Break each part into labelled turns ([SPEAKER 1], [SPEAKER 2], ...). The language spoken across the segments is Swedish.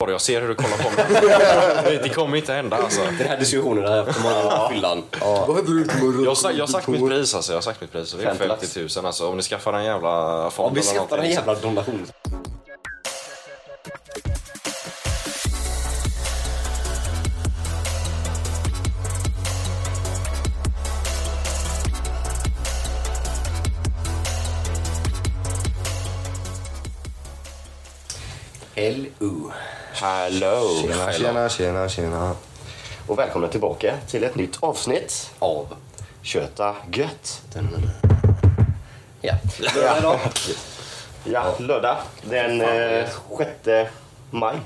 [SPEAKER 1] på dig. Jag ser hur du kollar på mig. Det kommer inte hända alltså.
[SPEAKER 2] Den här diskussionen har jag haft på många år på fyllan.
[SPEAKER 3] Vad hade du med
[SPEAKER 1] Jag har, sa- jag har sagt mitt pris alltså. Jag har sagt mitt pris. Det är
[SPEAKER 2] Fem lax.
[SPEAKER 1] 50 000 alltså. Om ni skaffar en jävla
[SPEAKER 2] Om
[SPEAKER 1] fond
[SPEAKER 2] vi
[SPEAKER 1] eller
[SPEAKER 2] skattar
[SPEAKER 1] någonting.
[SPEAKER 2] en jävla donation. LU.
[SPEAKER 4] Hallå!
[SPEAKER 3] Tjena, tjena, tjena.
[SPEAKER 4] Och välkomna tillbaka till ett nytt avsnitt av Köta gött.
[SPEAKER 2] Ja. Lördag idag.
[SPEAKER 4] Ja, lördag den eh, 6 maj.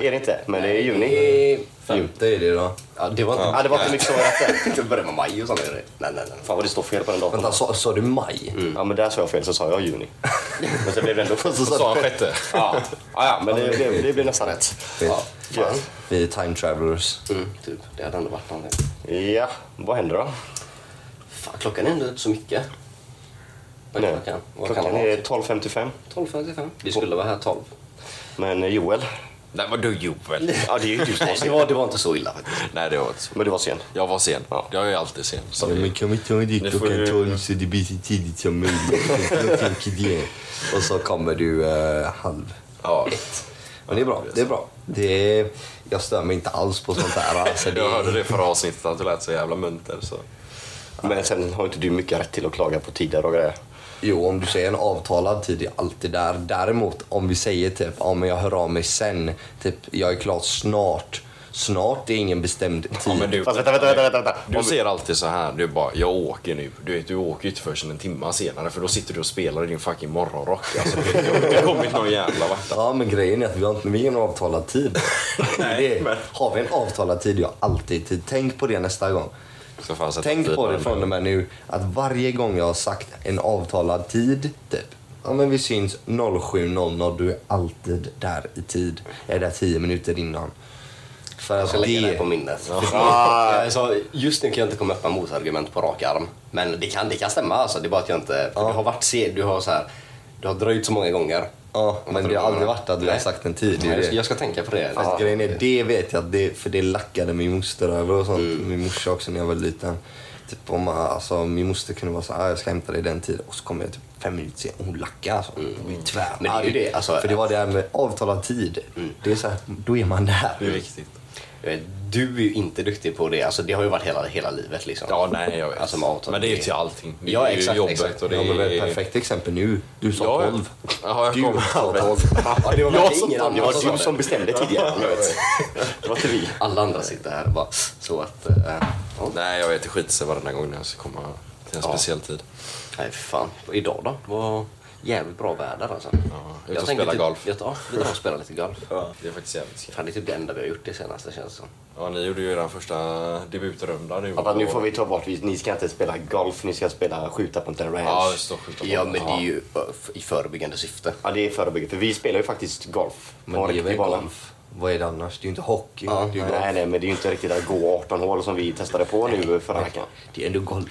[SPEAKER 4] Är det inte, men det är juni.
[SPEAKER 2] Eh,
[SPEAKER 3] Femte är det då.
[SPEAKER 2] Ja, det var inte...
[SPEAKER 4] Ja, det var inte mycket som var rätt än.
[SPEAKER 2] Det började med maj och sånt. eller? Nej, nej, nej.
[SPEAKER 4] Fan vad det står fel på den datorn.
[SPEAKER 2] Vänta, sa, sa du maj?
[SPEAKER 3] Mm.
[SPEAKER 4] Ja, men där sa jag fel så sa jag juni. Men sen blev det ändå... Så
[SPEAKER 1] Sa han sjätte?
[SPEAKER 4] Ja, ja, ja men det, det, det blir nästan rätt.
[SPEAKER 3] Ja.
[SPEAKER 4] Ja.
[SPEAKER 3] Vi är time travelers.
[SPEAKER 2] Mm, typ. Det hade ändå varit någonting.
[SPEAKER 4] ja, vad händer då?
[SPEAKER 2] Fan, klockan är ändå inte så mycket. Vad
[SPEAKER 4] Nej.
[SPEAKER 2] kan, kan, vad kan
[SPEAKER 4] Klockan
[SPEAKER 2] det
[SPEAKER 4] är
[SPEAKER 2] vara?
[SPEAKER 4] 12.55,
[SPEAKER 2] 12.55. Vi skulle vara här 12.
[SPEAKER 4] men eh, Joel...
[SPEAKER 1] Nej vadå Joel?
[SPEAKER 4] Ja, det är ju du som har
[SPEAKER 2] det,
[SPEAKER 4] sen.
[SPEAKER 2] var, det var inte så illa faktiskt.
[SPEAKER 1] Nej det var inte så.
[SPEAKER 4] Men du var sen.
[SPEAKER 1] Jag var sen. Jag är ju alltid sen. Så det-
[SPEAKER 3] men kan vi ta det
[SPEAKER 1] Nu får klockan du- tolv
[SPEAKER 3] så det blir så tidigt som möjligt? Jag tänker det. Och så kommer du eh, halv
[SPEAKER 1] Ja.
[SPEAKER 3] ett. Men det är bra. Det är bra. Det är, jag stör mig inte alls på sånt där. Alltså, det,
[SPEAKER 1] Jag hörde det förra avsnittet att du lät så jävla munter. Så.
[SPEAKER 4] Men sen har inte du mycket rätt till att klaga på tider och grejer.
[SPEAKER 3] Jo, om du säger en avtalad tid är alltid där. Däremot om vi säger typ, ja men jag hör av mig sen. Typ, jag är klar snart. Snart är ingen bestämd tid.
[SPEAKER 1] Ja, men du,
[SPEAKER 4] Fast vänta, vänta, vänta. vänta, vänta.
[SPEAKER 1] Du
[SPEAKER 4] Om-
[SPEAKER 1] ser alltid så här, du bara jag åker nu. Du, vet, du åker ju inte förrän en timma senare för då sitter du och spelar i din fucking morgonrock. Alltså, det det har kommit någon jävla vart.
[SPEAKER 3] Ja, men grejen är att vi har inte vi har ingen avtalad tid. det, är- Har vi en avtalad tid, jag har alltid tid. Tänk på det nästa gång.
[SPEAKER 1] Ska fan sätta
[SPEAKER 3] Tänk
[SPEAKER 1] tid
[SPEAKER 3] på det
[SPEAKER 1] den.
[SPEAKER 3] från och med nu, att varje gång jag har sagt en avtalad tid, typ. Ja, men vi syns 07.00, du är alltid där i tid. Jag är där 10 minuter innan. För
[SPEAKER 2] Jag
[SPEAKER 3] att
[SPEAKER 2] ska lägga det här
[SPEAKER 3] det...
[SPEAKER 2] på minnet.
[SPEAKER 4] Ah.
[SPEAKER 2] Alltså, just nu kan jag inte komma upp med motargument på rak arm. Men det kan, det kan stämma. Alltså. Det är bara att jag inte... för
[SPEAKER 3] Ja.
[SPEAKER 2] Du har varit sen. Du har, så här, du har dröjt så många gånger.
[SPEAKER 3] Ja, men det har aldrig varit att vi har
[SPEAKER 2] Nej.
[SPEAKER 3] sagt en tid. Det
[SPEAKER 2] Nej,
[SPEAKER 3] är
[SPEAKER 2] jag ska-
[SPEAKER 3] det.
[SPEAKER 2] jag ska tänka på det.
[SPEAKER 3] Fast grejen är, det vet jag, att det, för det lackade min moster över och sånt. Min morsa också när jag var liten. Typ om, alltså, min moster kunde vara så här, "Ah, jag ska hämta dig den tiden. Och så kommer jag typ fem minuter sen och hon lackade. Alltså. Mm. Hon blev tvärarg.
[SPEAKER 2] Men det är ju det, alltså-
[SPEAKER 3] för det var det här med avtalad tid. Det är så här, då är man där.
[SPEAKER 1] Det är viktigt.
[SPEAKER 2] Jag vet, Eh, Du är ju inte duktig på det. Alltså, det har ju varit hela, hela livet. Liksom.
[SPEAKER 1] Ja, nej jag vet.
[SPEAKER 2] Alltså, med avtal.
[SPEAKER 1] Men det är ju till allting. Det är
[SPEAKER 2] Ja,
[SPEAKER 1] ju
[SPEAKER 2] exakt,
[SPEAKER 1] jobbet
[SPEAKER 2] exakt.
[SPEAKER 1] och det
[SPEAKER 3] Ja, men väl,
[SPEAKER 1] är...
[SPEAKER 3] perfekt exempel nu. Du sa
[SPEAKER 1] Ja, ja.
[SPEAKER 3] 12.
[SPEAKER 1] Ja, jag
[SPEAKER 3] du
[SPEAKER 1] kom.
[SPEAKER 3] sa 12.
[SPEAKER 2] Ja, det var
[SPEAKER 4] Jag
[SPEAKER 2] verkligen
[SPEAKER 4] som,
[SPEAKER 2] ingen
[SPEAKER 4] det
[SPEAKER 2] annan
[SPEAKER 4] var
[SPEAKER 2] som
[SPEAKER 4] du
[SPEAKER 2] sa
[SPEAKER 4] som
[SPEAKER 2] det.
[SPEAKER 4] bestämde tidigare. jag vet. Det var inte vi.
[SPEAKER 2] Alla andra sitter här och bara... Så att... eh, ja.
[SPEAKER 1] Nej jag vet, det skiter sig varenda gång när jag ska komma till en
[SPEAKER 2] Ja.
[SPEAKER 1] speciell tid.
[SPEAKER 2] Nej, för fan. Idag då? Det var jävligt bra väder alltså.
[SPEAKER 1] ut och
[SPEAKER 2] tänker
[SPEAKER 1] spela
[SPEAKER 2] typ,
[SPEAKER 1] golf.
[SPEAKER 2] Jag, ja, vi drar och spelar lite golf.
[SPEAKER 1] Det är faktiskt jävligt skräp.
[SPEAKER 2] Fan, det är typ det enda vi har gjort det senaste känns det som.
[SPEAKER 1] Ja, ni gjorde ju er första debutrunda nu.
[SPEAKER 4] Pappa, nu får vi ta bort, vi- ni ska inte spela golf, ni ska spela skjuta på en
[SPEAKER 1] Ja,
[SPEAKER 4] ranch.
[SPEAKER 1] just det, skjuta på.
[SPEAKER 2] Ja, men det är ju ö, f- i förebyggande syfte.
[SPEAKER 4] Ja, det är förebyggande, för vi spelar ju faktiskt golf. på en
[SPEAKER 3] Men det är väl
[SPEAKER 4] riktig bana.
[SPEAKER 3] golf? Vad är det annars? Det är ju inte hockey. det är ju golf.
[SPEAKER 4] Nej, nej, men det är ju inte riktigt att gå 18 hål som vi testade på nu förra veckan.
[SPEAKER 3] Det är ändå golf.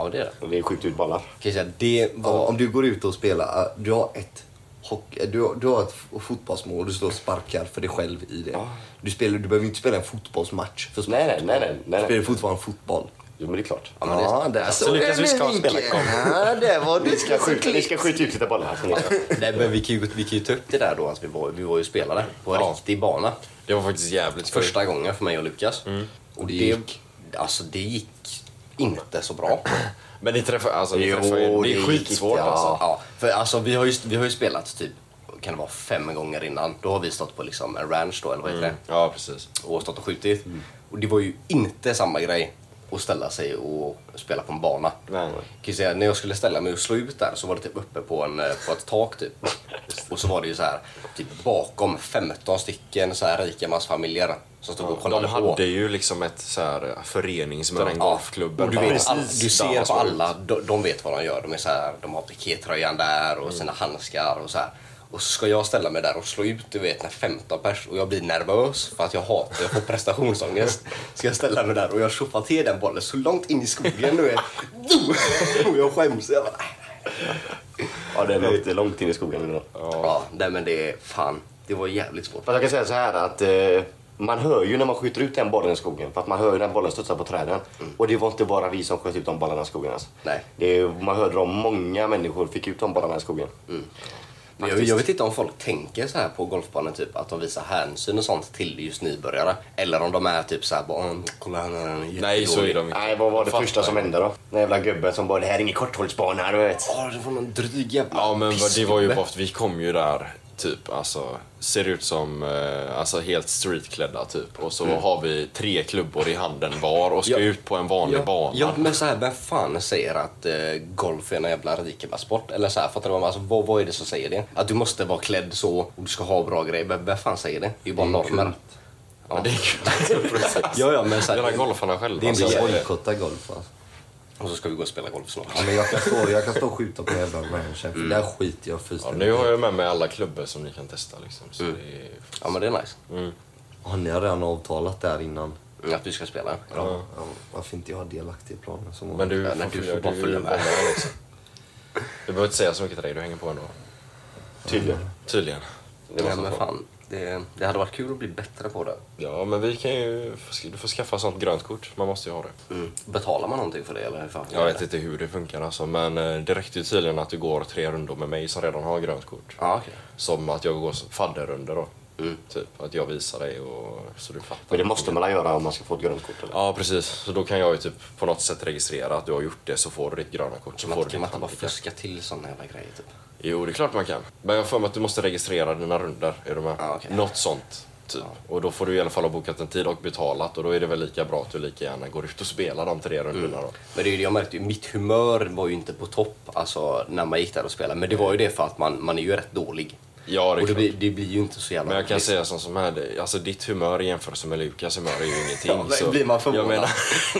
[SPEAKER 2] Ja, det är det.
[SPEAKER 4] Och Vi skjuter ut bollar.
[SPEAKER 2] Kan jag säga, det
[SPEAKER 3] Ja,
[SPEAKER 2] var...
[SPEAKER 3] om du går ut och spelar, eh, du har ett hockey, eh, du, du har ett f- fotbollsmål och du står och sparkar för dig själv i det. Du, spelar, du behöver inte spela en fotbollsmatch för att spela
[SPEAKER 4] Nej, nej,
[SPEAKER 3] fotboll.
[SPEAKER 4] nej, nej, nej.
[SPEAKER 3] Du spelar fortfarande fotboll.
[SPEAKER 4] Jo, men det är klart.
[SPEAKER 3] Ja, det är, där
[SPEAKER 1] Så Lukas, vi ska spela golf.
[SPEAKER 3] Ja, det var
[SPEAKER 4] Vi
[SPEAKER 3] du
[SPEAKER 4] ska skjuta, vi ska skjuta ut lite bollar. ska ni göra.
[SPEAKER 2] Nej, men vi kan, ju, vi kan ju ta upp det där då att vi var, vi var ju spelare på en
[SPEAKER 1] Ja.
[SPEAKER 2] riktig bana.
[SPEAKER 1] Det var faktiskt jävligt skoj.
[SPEAKER 4] Mm.
[SPEAKER 2] Första gången för mig och Lukas. Och det gick... Alltså, det gick inte så bra.
[SPEAKER 1] Men ni träffar, alltså ni
[SPEAKER 4] Jo,
[SPEAKER 1] träffar ju, det
[SPEAKER 4] det
[SPEAKER 1] är
[SPEAKER 4] gick
[SPEAKER 1] skitsvårt
[SPEAKER 4] inte, ja.
[SPEAKER 1] alltså.
[SPEAKER 2] Ja, för alltså vi har ju, vi har ju spelat typ, kan det vara fem gånger innan. Då har vi stått på liksom en ranch då, eller vad heter
[SPEAKER 4] Mm.
[SPEAKER 2] det?
[SPEAKER 1] Ja, precis.
[SPEAKER 2] Och stått och skjutit.
[SPEAKER 1] Mm.
[SPEAKER 2] Och det var ju inte samma grej att ställa sig och spela på en bana.
[SPEAKER 1] Nej.
[SPEAKER 2] Jag Kan ju säga, när jag skulle ställa mig och slå ut där så var det typ uppe på, en, eh, på ett tak typ. Och så var det ju så här, typ bakom 15 stycken så här rikemansfamiljer som stod och kollade
[SPEAKER 1] De
[SPEAKER 2] på.
[SPEAKER 1] hade ju liksom ett så här föreningsmöte, en
[SPEAKER 2] Ja,
[SPEAKER 1] golfklubb.
[SPEAKER 2] Och du,
[SPEAKER 1] eller
[SPEAKER 2] vet, all,
[SPEAKER 1] något.
[SPEAKER 2] du ser på
[SPEAKER 1] Dansbord.
[SPEAKER 2] alla, de, de vet vad de gör. De, är så här, de har pikétröjan där och sina handskar och så här. Och så ska jag ställa mig där och slå ut du vet, när 15 pers och jag blir nervös för att jag hatar, jag får prestationsångest. Så jag ställer mig där och jag tjoffar till den bollen så långt in i skogen du vet. Och jag skäms. Jag bara, äh. nej, nej.
[SPEAKER 4] Ja, det är långt, det är långt in i skogen nu. då.
[SPEAKER 2] Ja, nej men det är fan. Det var jävligt svårt.
[SPEAKER 4] Fast jag kan säga så här att eh, man hör ju när man skjuter ut den bollen i skogen. För att man hör ju när bollen studsar på träden.
[SPEAKER 1] Mm.
[SPEAKER 4] Och det var inte bara vi som sköt ut de bollarna i skogen. Alltså.
[SPEAKER 2] Nej.
[SPEAKER 4] Det, man hörde om många människor fick ut de bollarna i skogen.
[SPEAKER 1] Mm.
[SPEAKER 2] Men jag, jag vet inte om folk tänker så här på golfbanan, typ att de visar hänsyn och sånt till just nybörjare. Eller om de är typ så här bara, "Åh, kolla här, han är jättedålig."
[SPEAKER 1] Nej, så är de inte.
[SPEAKER 4] Nej, vad var det
[SPEAKER 1] Fattar
[SPEAKER 4] första som
[SPEAKER 1] jag.
[SPEAKER 4] hände då? Den jävla gubben som bara, det här är ingen korthållsbana, du vet.
[SPEAKER 2] Åh, det var någon dryg jävla
[SPEAKER 1] Ja men vad- det var ju
[SPEAKER 2] pissgubbe.
[SPEAKER 1] bara för att vi kom ju där typ alltså ser ut som eh, alltså helt streetklädda typ och så har vi tre klubbor i handen var och ska
[SPEAKER 2] Mm. Ja.
[SPEAKER 1] ut på en vanlig
[SPEAKER 2] ja,
[SPEAKER 1] bana.
[SPEAKER 2] Ja, men så här, vem fan säger att eh, golf är en jävla rikemansport? Eller så här, fattar du? vad jag menar? Alltså, vad, vad är det som säger det? Att du måste vara klädd så och du ska ha bra grejer. Vem, vem fan säger det? Det är ju bara normer.
[SPEAKER 1] Ja, det är kul. Precis.
[SPEAKER 2] Ja, ja, men så här,
[SPEAKER 1] Dina golfarna själva.
[SPEAKER 2] Det är inte
[SPEAKER 1] alltså,
[SPEAKER 3] Jag
[SPEAKER 1] jag-
[SPEAKER 3] bojkottar golf alltså.
[SPEAKER 2] Och så ska vi gå och spela golf snart.
[SPEAKER 3] Ja, men jag, kan stå, jag kan stå och skjuta på jävla ranchen för där skiter
[SPEAKER 1] ja,
[SPEAKER 3] jag fullständigt
[SPEAKER 1] nu har jag med mig alla klubbor som ni kan testa liksom. Så
[SPEAKER 2] Mm.
[SPEAKER 1] det är...
[SPEAKER 2] Ja, men det är nice.
[SPEAKER 3] Har ni redan avtalat där innan?
[SPEAKER 2] Mm, Att vi ska spela.
[SPEAKER 3] Ja. varför inte jag delaktig i planen? Som
[SPEAKER 1] Men du,
[SPEAKER 2] Ja, nej, du
[SPEAKER 1] följa-
[SPEAKER 2] får bara
[SPEAKER 1] du-
[SPEAKER 2] följa med.
[SPEAKER 1] liksom. Du behöver inte säga så mycket till dig, du hänger på ändå.
[SPEAKER 4] Tydligen.
[SPEAKER 1] Tydligen.
[SPEAKER 2] Mm. Det var men fan, det, det hade varit kul att bli bättre på det.
[SPEAKER 1] Ja men vi kan ju, du får skaffa sånt grönt kort, man måste ju ha det.
[SPEAKER 2] Mm. Betalar man någonting för det eller hur fan?
[SPEAKER 1] Jag vet inte hur det funkar alltså, men eh, det räckte ju tydligen att du går tre rundor med mig som redan har grönt kort.
[SPEAKER 2] Ja, okej.
[SPEAKER 1] Som att jag går som fadderrundor då. Typ att jag visar dig och så du fattar.
[SPEAKER 4] Men det måste man göra om man ska få ett grönt kort eller?
[SPEAKER 1] Ja precis, så då kan jag ju typ på något sätt registrera att du har gjort det så får du ditt gröna kort. Så
[SPEAKER 2] Kan man,
[SPEAKER 1] får du
[SPEAKER 2] kan
[SPEAKER 1] ditt
[SPEAKER 2] man inte liksom bara
[SPEAKER 1] handikapp.
[SPEAKER 2] fuska till sådana jävla grejer typ?
[SPEAKER 1] Jo det är klart man kan. Men jag har för mig att du måste registrera dina runder är du med?
[SPEAKER 2] Ja, okej.
[SPEAKER 1] Något sånt. Typ. Och då får du i alla fall ha bokat en tid och betalat och då är det väl lika bra att du lika gärna går ut och spelar de tre rundorna då.
[SPEAKER 2] Men det är ju det jag märkte ju, mitt humör var ju inte på topp alltså, när man gick där och spelade. Men det var ju det för att man, man är ju rätt dålig.
[SPEAKER 1] Ja det är
[SPEAKER 2] och det
[SPEAKER 1] klart.
[SPEAKER 2] blir, det blir ju inte så jävla
[SPEAKER 1] Men jag kan
[SPEAKER 2] roligt.
[SPEAKER 1] säga som, som här, det- alltså ditt humör i jämförelse med Lukas humör är ju ingenting.
[SPEAKER 2] Ja, men
[SPEAKER 1] så
[SPEAKER 2] blir man förvånad?
[SPEAKER 1] Jag menar,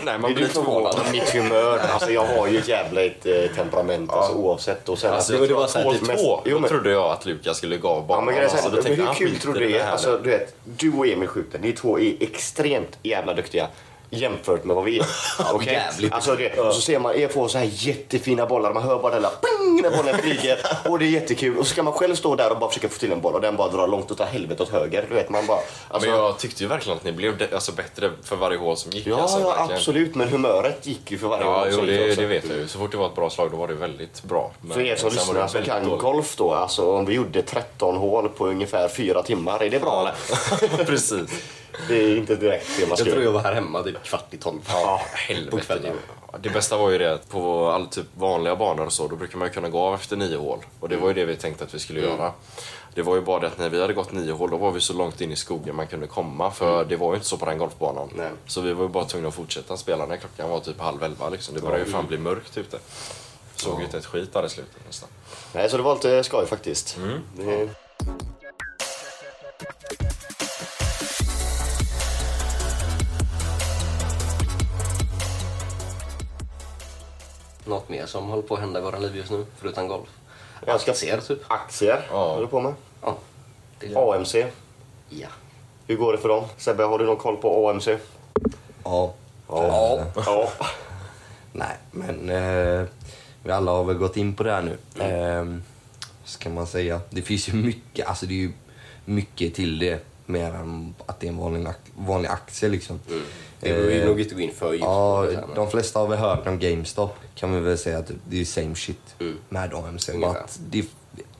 [SPEAKER 1] nej, man blir
[SPEAKER 4] Är du
[SPEAKER 1] inte
[SPEAKER 4] förvånad?
[SPEAKER 1] förvånad.
[SPEAKER 4] Mitt humör. Alltså jag har ju ett jävligt eh, temperament alltså, oavsett. Och sen,
[SPEAKER 1] Alltså,
[SPEAKER 4] att-
[SPEAKER 1] jag
[SPEAKER 4] Jo,
[SPEAKER 1] tror att
[SPEAKER 4] två-
[SPEAKER 1] vi
[SPEAKER 4] typ mest-
[SPEAKER 1] två,
[SPEAKER 4] Jo,
[SPEAKER 1] då
[SPEAKER 4] men,
[SPEAKER 1] trodde jag att Lukas skulle gå av
[SPEAKER 4] ja,
[SPEAKER 1] banan.
[SPEAKER 4] men, jag säga,
[SPEAKER 1] alltså, då
[SPEAKER 4] men
[SPEAKER 1] tänkte
[SPEAKER 4] hur
[SPEAKER 1] jag,
[SPEAKER 4] kul
[SPEAKER 1] skiter
[SPEAKER 4] tror
[SPEAKER 1] i
[SPEAKER 4] du det är?
[SPEAKER 1] här
[SPEAKER 4] Alltså,
[SPEAKER 1] nu.
[SPEAKER 4] du vet, du och Emil skjuter, ni två är extremt jävla duktiga. Jämfört med vad vi är. Okej?
[SPEAKER 2] jävligt.
[SPEAKER 4] Alltså, det, och så ser man er få så här jättefina bollar. Man hör bara den där ping när bollen flyger. Och det är jättekul. Och så ska man själv stå där och bara försöka få till en boll och den bara drar långt åt helvete åt höger. Du vet, man bara... Alltså,
[SPEAKER 1] men jag tyckte ju verkligen att ni blev de- alltså, bättre för varje hål som gick.
[SPEAKER 4] ja,
[SPEAKER 1] alltså,
[SPEAKER 4] ja,
[SPEAKER 1] verkligen.
[SPEAKER 4] absolut. Men humöret gick ju för varje
[SPEAKER 1] Ja,
[SPEAKER 4] gång
[SPEAKER 1] jo,
[SPEAKER 4] som gick
[SPEAKER 1] det,
[SPEAKER 4] också.
[SPEAKER 1] det vet jag ju. Så fort det var ett bra slag då var det väldigt bra. Men
[SPEAKER 4] För er som
[SPEAKER 1] sen var
[SPEAKER 4] lyssnar
[SPEAKER 1] det
[SPEAKER 4] som
[SPEAKER 1] väldigt
[SPEAKER 4] kan
[SPEAKER 1] dåligt.
[SPEAKER 4] golf då, alltså om vi gjorde 13 hål på ungefär 4 timmar, är det bra eller?
[SPEAKER 1] Precis.
[SPEAKER 4] Det är inte direkt det man
[SPEAKER 2] Jag
[SPEAKER 4] ska
[SPEAKER 2] tror
[SPEAKER 4] göra.
[SPEAKER 2] jag var här hemma typ kvart i tolv
[SPEAKER 1] Ja,
[SPEAKER 2] på
[SPEAKER 1] helvete.
[SPEAKER 2] kvällen.
[SPEAKER 1] Ja, Det bästa var ju det att på all typ vanliga banor och så, då brukar man ju kunna gå av efter nio hål. Och det var
[SPEAKER 4] Mm.
[SPEAKER 1] ju det vi tänkte att vi skulle göra. Det var ju bara det att när vi hade gått nio hål, då var vi så långt in i skogen man kunde komma. För
[SPEAKER 4] Mm.
[SPEAKER 1] det var ju inte så på den golfbanan.
[SPEAKER 2] Nej.
[SPEAKER 1] Så vi var ju bara tvungna att fortsätta spela när klockan var typ halv elva liksom. Det började ju fan bli mörkt ute. Såg ju inte ett skit där i slutet nästan.
[SPEAKER 4] Nej, så det var lite skoj faktiskt.
[SPEAKER 2] Mm.
[SPEAKER 4] Det...
[SPEAKER 2] Något mer som håller på att hända i våra liv just nu, förutom golf.
[SPEAKER 4] Jag ska-
[SPEAKER 2] Aktier typ.
[SPEAKER 4] Aktier
[SPEAKER 1] Ja.
[SPEAKER 4] håller du på med.
[SPEAKER 2] Ja. Det är-
[SPEAKER 4] AMC.
[SPEAKER 2] ja.
[SPEAKER 4] Hur går det för dem? Sebbe, har du någon koll på AMC?
[SPEAKER 3] Ja.
[SPEAKER 2] Ja.
[SPEAKER 4] Ja.
[SPEAKER 3] Nej, men eh, vi alla har väl gått in på det här nu. Eh, ska man säga. Det finns ju mycket, alltså det är ju mycket till det. Mer än att det är en vanlig, ak- vanlig aktie liksom.
[SPEAKER 2] Mm. Det behöver vi
[SPEAKER 3] Eh,
[SPEAKER 2] nog inte gå in för djupt
[SPEAKER 3] Ja,
[SPEAKER 2] på det här, men-
[SPEAKER 3] de flesta har väl hört om GameStop. Kan vi väl säga att det är same shit
[SPEAKER 2] Mm.
[SPEAKER 3] med AMC. Bara
[SPEAKER 2] Ungefär.
[SPEAKER 3] att det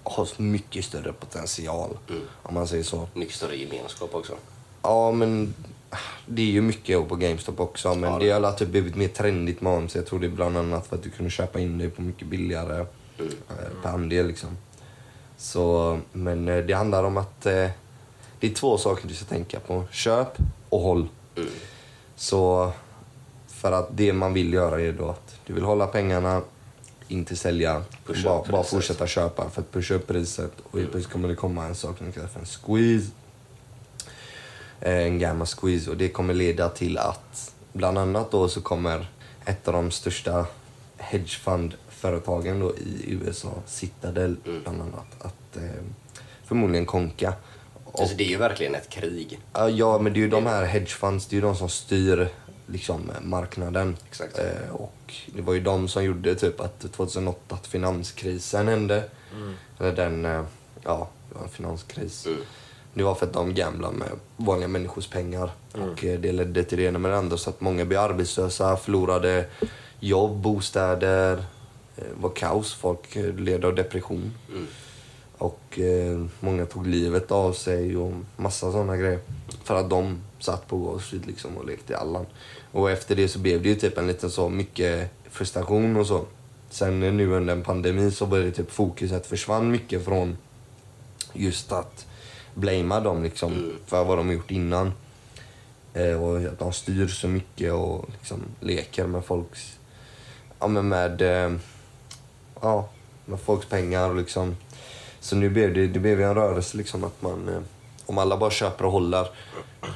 [SPEAKER 3] har så mycket större potential
[SPEAKER 2] Mm.
[SPEAKER 3] om man säger så.
[SPEAKER 2] Mycket större gemenskap också.
[SPEAKER 3] Ja, men det är ju mycket jobb på GameStop också. Men det har typ blivit mer trendigt med AMC. Jag tror det är bland annat för att du kunde köpa in dig på mycket billigare eh, per andel liksom. Så, men eh, det handlar om att eh, det är två saker du ska tänka på. Köp och håll. Så för att det man vill göra är då att du vill hålla pengarna, inte sälja.
[SPEAKER 2] Pusha
[SPEAKER 3] Bara,
[SPEAKER 2] upp
[SPEAKER 3] bara
[SPEAKER 2] priset.
[SPEAKER 3] fortsätta köpa för att pusha upp priset och helt plötsligt kommer det komma en sak som kallas för en squeeze. Eh, En gamma squeeze och det kommer leda till att bland annat då så kommer ett av de största hedgefundföretagen då i USA, Citadel
[SPEAKER 2] Mm.
[SPEAKER 3] bland annat, att eh, förmodligen konka. Och
[SPEAKER 2] Alltså, det är ju verkligen ett krig.
[SPEAKER 3] Ja, Ja, men det är ju de här hedgefunds, det är ju de som styr liksom marknaden.
[SPEAKER 2] Exakt.
[SPEAKER 3] Eh, och det var ju de som gjorde typ att 2008 att finanskrisen hände. Eller den, eh, ja, det var en finanskris. Det var för att de gamblade med vanliga människors pengar. Och eh, det ledde till det ena med det andra. Så att många blev arbetslösa, förlorade jobb, bostäder. Eh, Det var kaos. Folk eh, led av depression. Och eh, många tog livet av sig och massa sådana grejer. För att de satt på Wall Street liksom och lekte i Allan. Och efter det så blev det ju typ en liten så mycket frustration och så. Sen eh, nu under en pandemi så började typ fokuset försvann mycket från just att blamea dem liksom
[SPEAKER 2] Mm.
[SPEAKER 3] för vad de har gjort innan. Eh, och att de styr så mycket och liksom leker med folks... Ja, men med... Eh, ja, med folks pengar och liksom... Så nu blev det, det blev ju en rörelse liksom att man... Eh, om alla bara köper och håller,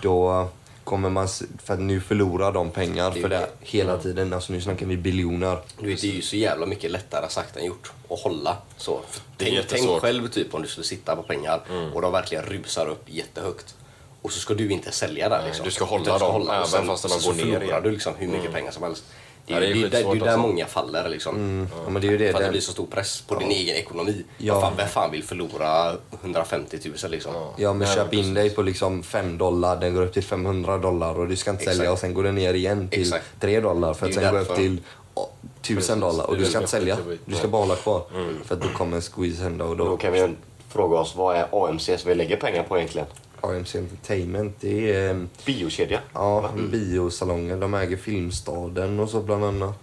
[SPEAKER 3] då kommer man... s- För att nu förlorar de pengar
[SPEAKER 2] Det är
[SPEAKER 3] för
[SPEAKER 2] ju
[SPEAKER 3] det hela tiden. Alltså nu snackar vi biljoner.
[SPEAKER 2] Du vet, det är ju så jävla mycket lättare sagt än gjort att hålla. Så, för
[SPEAKER 1] Det är
[SPEAKER 2] tänk,
[SPEAKER 1] jättesvårt. Mm.
[SPEAKER 2] tänk själv typ om du skulle sitta på pengar och de verkligen rusar upp jättehögt. Och så ska du inte sälja där. Liksom.
[SPEAKER 1] du ska hålla
[SPEAKER 2] Utan
[SPEAKER 1] dem, även
[SPEAKER 2] och sen,
[SPEAKER 1] fast de
[SPEAKER 2] och så
[SPEAKER 1] går ner
[SPEAKER 2] förlorar
[SPEAKER 1] igen. Mm.
[SPEAKER 2] du liksom hur mycket pengar som helst. Det
[SPEAKER 1] Ja,
[SPEAKER 2] är,
[SPEAKER 1] det är
[SPEAKER 2] ju- det är, där- det är
[SPEAKER 1] skitsvårt
[SPEAKER 2] ju där
[SPEAKER 1] alltså. Mm.
[SPEAKER 2] många faller liksom.
[SPEAKER 3] Ja, men det är ju det.
[SPEAKER 2] För att det
[SPEAKER 3] Den-
[SPEAKER 2] blir så stor press på din egen ekonomi.
[SPEAKER 3] Ja.
[SPEAKER 2] Vad Fan, vem fan vill förlora 150 000 liksom?
[SPEAKER 3] Ja, men
[SPEAKER 1] Nej,
[SPEAKER 3] köp in dig på liksom 5 dollar, den går upp till 500 dollar och du ska inte
[SPEAKER 2] Exakt.
[SPEAKER 3] sälja och sen går den ner igen till
[SPEAKER 2] Exakt.
[SPEAKER 3] 3 dollar för att
[SPEAKER 2] Det är
[SPEAKER 3] sen gå upp
[SPEAKER 2] därför.
[SPEAKER 3] till å, 1000 dollar och
[SPEAKER 1] Det är
[SPEAKER 3] du ska
[SPEAKER 1] det
[SPEAKER 3] inte
[SPEAKER 1] som är
[SPEAKER 3] sälja.
[SPEAKER 1] skitjobbigt.
[SPEAKER 3] Du ska bara hålla kvar för att då kommer en squeeze hända och
[SPEAKER 4] Då
[SPEAKER 3] då
[SPEAKER 4] kan vi ju fråga oss vad är AMC som vi lägger pengar på egentligen?
[SPEAKER 3] AMC Entertainment, det är eh,
[SPEAKER 4] Biokedja.
[SPEAKER 3] ja, biosalonger, de äger Filmstaden och så bland annat.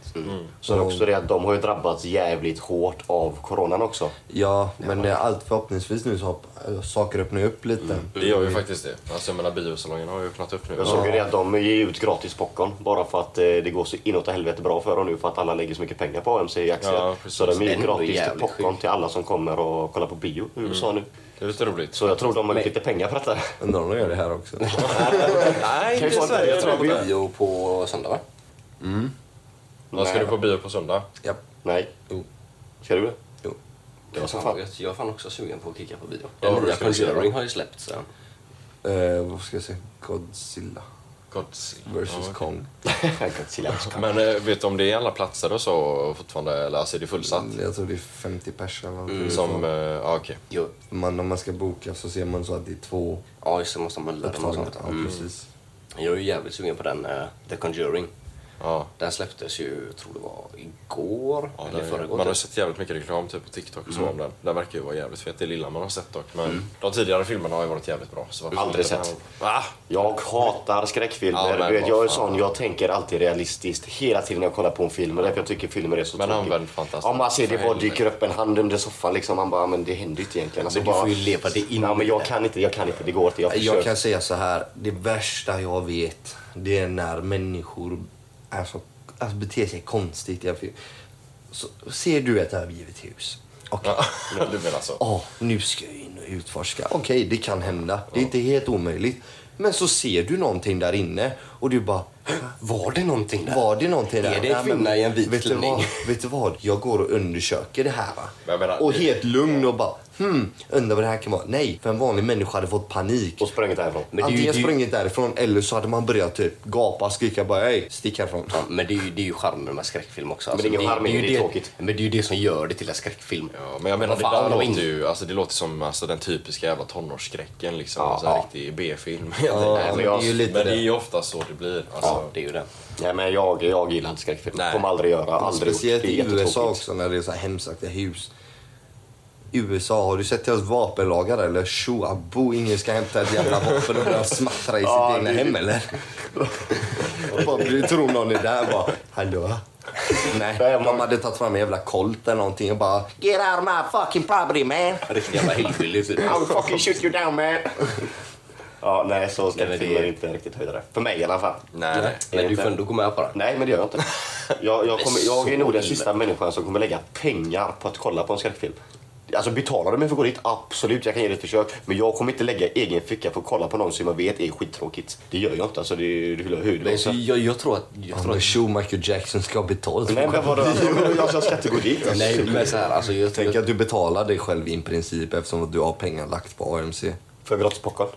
[SPEAKER 4] Så det är också det att de har ju drabbats jävligt hårt av coronan också.
[SPEAKER 3] Ja, men det är allt förhoppningsvis nu så hopp- saker öppnar upp lite.
[SPEAKER 1] Det gör ju faktiskt det. Alltså jag menar biosalongerna har ju öppnat upp nu.
[SPEAKER 4] Mm. Jag såg ju det att de ger ut gratis popcorn bara för att eh, det går så inåt helvete bra för dem nu för att alla lägger så mycket pengar på AMC i aktier.
[SPEAKER 1] Ja, precis.
[SPEAKER 4] så de
[SPEAKER 2] Det
[SPEAKER 4] ger
[SPEAKER 2] är
[SPEAKER 4] ju
[SPEAKER 2] ändå
[SPEAKER 4] gratis
[SPEAKER 2] jävligt
[SPEAKER 4] popcorn
[SPEAKER 2] sjukt. Mm.
[SPEAKER 4] till alla som kommer och kollar på bio i USA nu.
[SPEAKER 1] Det är lite roligt.
[SPEAKER 4] Så jag tror de har lite pengar för detta.
[SPEAKER 3] Undrar om de gör det här också.
[SPEAKER 2] Nej,
[SPEAKER 4] Kan vi få en början på bio?
[SPEAKER 2] Bio på söndag va?
[SPEAKER 1] Vad ska
[SPEAKER 4] Nej.
[SPEAKER 1] du på bio på söndag?
[SPEAKER 3] ja.
[SPEAKER 4] Nej.
[SPEAKER 3] Jo.
[SPEAKER 4] Ska du det?
[SPEAKER 3] Jo.
[SPEAKER 4] Det var som
[SPEAKER 2] Fan,
[SPEAKER 4] fan.
[SPEAKER 2] jag jag är fan också sugen på att kicka på bio.
[SPEAKER 1] Ja,
[SPEAKER 2] Den
[SPEAKER 1] det
[SPEAKER 2] nya
[SPEAKER 1] ska vi se,
[SPEAKER 2] Conjuring
[SPEAKER 1] va?
[SPEAKER 2] har ju släppts. så.
[SPEAKER 3] Eh, vad ska jag säga? Godzilla
[SPEAKER 1] Godzilla.
[SPEAKER 3] versus
[SPEAKER 1] Ja, okej.
[SPEAKER 3] Kong.
[SPEAKER 4] Godzilla.
[SPEAKER 1] Men eh, vet du om det är alla platser och så fortfarande? Eller alltså är det fullsatt?
[SPEAKER 3] Jag tror det är 50 pers eller någonting.
[SPEAKER 1] Som, eh, ja okej.
[SPEAKER 2] Jo.
[SPEAKER 3] man, Om man ska boka så ser man så att det är två
[SPEAKER 2] Ja, just det. Måste man lära dem och
[SPEAKER 3] upptagna.
[SPEAKER 2] sånt.
[SPEAKER 3] Ja,
[SPEAKER 2] Mm.
[SPEAKER 3] precis.
[SPEAKER 2] Jag är ju jävligt sugen på den eh, The Conjuring.
[SPEAKER 1] Ja.
[SPEAKER 2] Den släpptes ju, jag tror det var igår
[SPEAKER 1] Ja,
[SPEAKER 2] eller
[SPEAKER 1] den, är-
[SPEAKER 2] förrgår.
[SPEAKER 1] man har
[SPEAKER 2] typ.
[SPEAKER 1] sett jävligt mycket reklam typ, på TikTok och så om den. Den verkar ju vara jävligt fet, det lilla man har sett dock. Men de tidigare filmerna har ju varit jävligt bra. Så varför
[SPEAKER 4] Aldrig
[SPEAKER 1] inte den
[SPEAKER 4] sett.
[SPEAKER 1] här- Va?
[SPEAKER 4] Jag hatar
[SPEAKER 1] Ja,
[SPEAKER 4] skräckfilmer.
[SPEAKER 1] men
[SPEAKER 4] du vet,
[SPEAKER 1] vad
[SPEAKER 4] jag är
[SPEAKER 1] fan.
[SPEAKER 4] sån, jag tänker alltid realistiskt hela tiden när jag kollar på en film. Och därför jag tycker filmer är så
[SPEAKER 1] Men
[SPEAKER 4] tråkiga.
[SPEAKER 1] använd fantasin.
[SPEAKER 4] Om man ser det
[SPEAKER 1] För
[SPEAKER 4] bara
[SPEAKER 1] helvete.
[SPEAKER 4] dyker upp en hand under soffan liksom. Man bara, men det händer ju inte egentligen. Alltså,
[SPEAKER 2] Men du får
[SPEAKER 4] bara-
[SPEAKER 2] ju leva det in
[SPEAKER 4] Ja,
[SPEAKER 2] i
[SPEAKER 4] men jag kan inte, jag kan inte. Det går inte. Jag,
[SPEAKER 3] Jag
[SPEAKER 4] jag
[SPEAKER 3] kan säga så här, det värsta jag vet det är när människor alltså, alltså, beter sig konstigt. Jag, så, ser du ett övergivet hus? Okej.
[SPEAKER 1] Ja, du menar så?
[SPEAKER 3] Ja, nu ska jag in och utforska. Okej, det kan hända. Det är inte helt omöjligt. Men så ser du någonting där inne och du bara...
[SPEAKER 2] Var det någonting där?
[SPEAKER 3] Var det någonting där?
[SPEAKER 2] Är det en
[SPEAKER 3] Nej, men
[SPEAKER 2] kvinna i en vit
[SPEAKER 3] vet du,
[SPEAKER 2] klänning?
[SPEAKER 3] vad, vet du vad? Jag går och undersöker det här.
[SPEAKER 1] Men
[SPEAKER 3] Va?
[SPEAKER 1] jag menar,
[SPEAKER 3] och
[SPEAKER 1] det-
[SPEAKER 3] helt lugn och bara hmm, undrar vad det här kan vara. Nej, för en vanlig människa hade fått panik.
[SPEAKER 4] och sprang inte härifrån.
[SPEAKER 2] Men det är ju-
[SPEAKER 3] Antingen
[SPEAKER 2] det är ju-
[SPEAKER 3] sprungit därifrån eller så hade man börjat typ gapa, skrika bara hej, stick härifrån.
[SPEAKER 2] Ja, men det är, ju, det är ju charmen med skräckfilm också. alltså,
[SPEAKER 4] det är ingen charm i det, det är
[SPEAKER 2] ju
[SPEAKER 4] tråkigt.
[SPEAKER 2] Men det är ju det som gör det till en skräckfilm.
[SPEAKER 1] Ja, men jag menar
[SPEAKER 2] Vad
[SPEAKER 1] det
[SPEAKER 2] fan,
[SPEAKER 1] där
[SPEAKER 2] de
[SPEAKER 1] låter
[SPEAKER 2] inte-
[SPEAKER 1] ju, alltså det låter som alltså, den typiska jävla tonårsskräcken liksom.
[SPEAKER 4] Ja,
[SPEAKER 1] alltså, en
[SPEAKER 4] ja.
[SPEAKER 1] riktig B-film.
[SPEAKER 3] Ja,
[SPEAKER 4] men
[SPEAKER 3] men
[SPEAKER 4] jag-
[SPEAKER 3] det är ju lite
[SPEAKER 1] men det är
[SPEAKER 3] det.
[SPEAKER 1] ju ofta så det blir. Alltså,
[SPEAKER 2] Ja, det är ju det.
[SPEAKER 4] Nej, men jag, jag gillar inte skräckfilm.
[SPEAKER 1] Nej.
[SPEAKER 4] Kommer aldrig göra. Aldrig gjort.
[SPEAKER 3] Speciellt
[SPEAKER 4] Det är
[SPEAKER 3] i
[SPEAKER 4] jättetråkigt.
[SPEAKER 3] USA också när det är så här hemsökta hus. USA, har du sett deras vapenlagar eller? Tjo abo, ingen ska hämta ett jävla vapen och börja smattra i sitt
[SPEAKER 4] Ja,
[SPEAKER 3] egna
[SPEAKER 4] det-
[SPEAKER 3] hem eller? bara, du tror någon är där bara, hallå? Nej, de hade tagit fram en jävla kolt eller någonting och bara Get out of my fucking property man!
[SPEAKER 2] Riktigt jävla hillbilly typ.
[SPEAKER 4] I'll fucking shoot you down man. ja, nej, så
[SPEAKER 2] Nej, men det-
[SPEAKER 4] skräckfilmer är inte riktigt höjdare. För mig i alla fall.
[SPEAKER 1] nej, nej.
[SPEAKER 2] Men du får ändå gå med på det.
[SPEAKER 4] Nej, men det gör jag inte. Jag, jag, kommer, jag är nog den
[SPEAKER 2] Så
[SPEAKER 4] sista människan som kommer lägga pengar på att kolla på en skräckfilm. Alltså betalar du mig för att gå dit? Absolut, jag kan ge det ett försök. Men jag kommer inte lägga egen ficka för att kolla på någon som jag vet är skittråkigt. Det gör jag inte. Alltså, det är det är hur det
[SPEAKER 2] Men
[SPEAKER 4] också.
[SPEAKER 2] så jag, jag tror att... Jag tror
[SPEAKER 3] Tror
[SPEAKER 2] att
[SPEAKER 3] tjo Michael Jackson ska ha betalt.
[SPEAKER 4] Nej, men vadå? Jag, jag ska inte gå dit. Alltså.
[SPEAKER 2] nej, men så här, alltså, jag,
[SPEAKER 3] Tänk
[SPEAKER 2] jag,
[SPEAKER 3] att du betalar dig själv i princip eftersom att du har pengar lagt på AMC.
[SPEAKER 4] För gratis popcorn?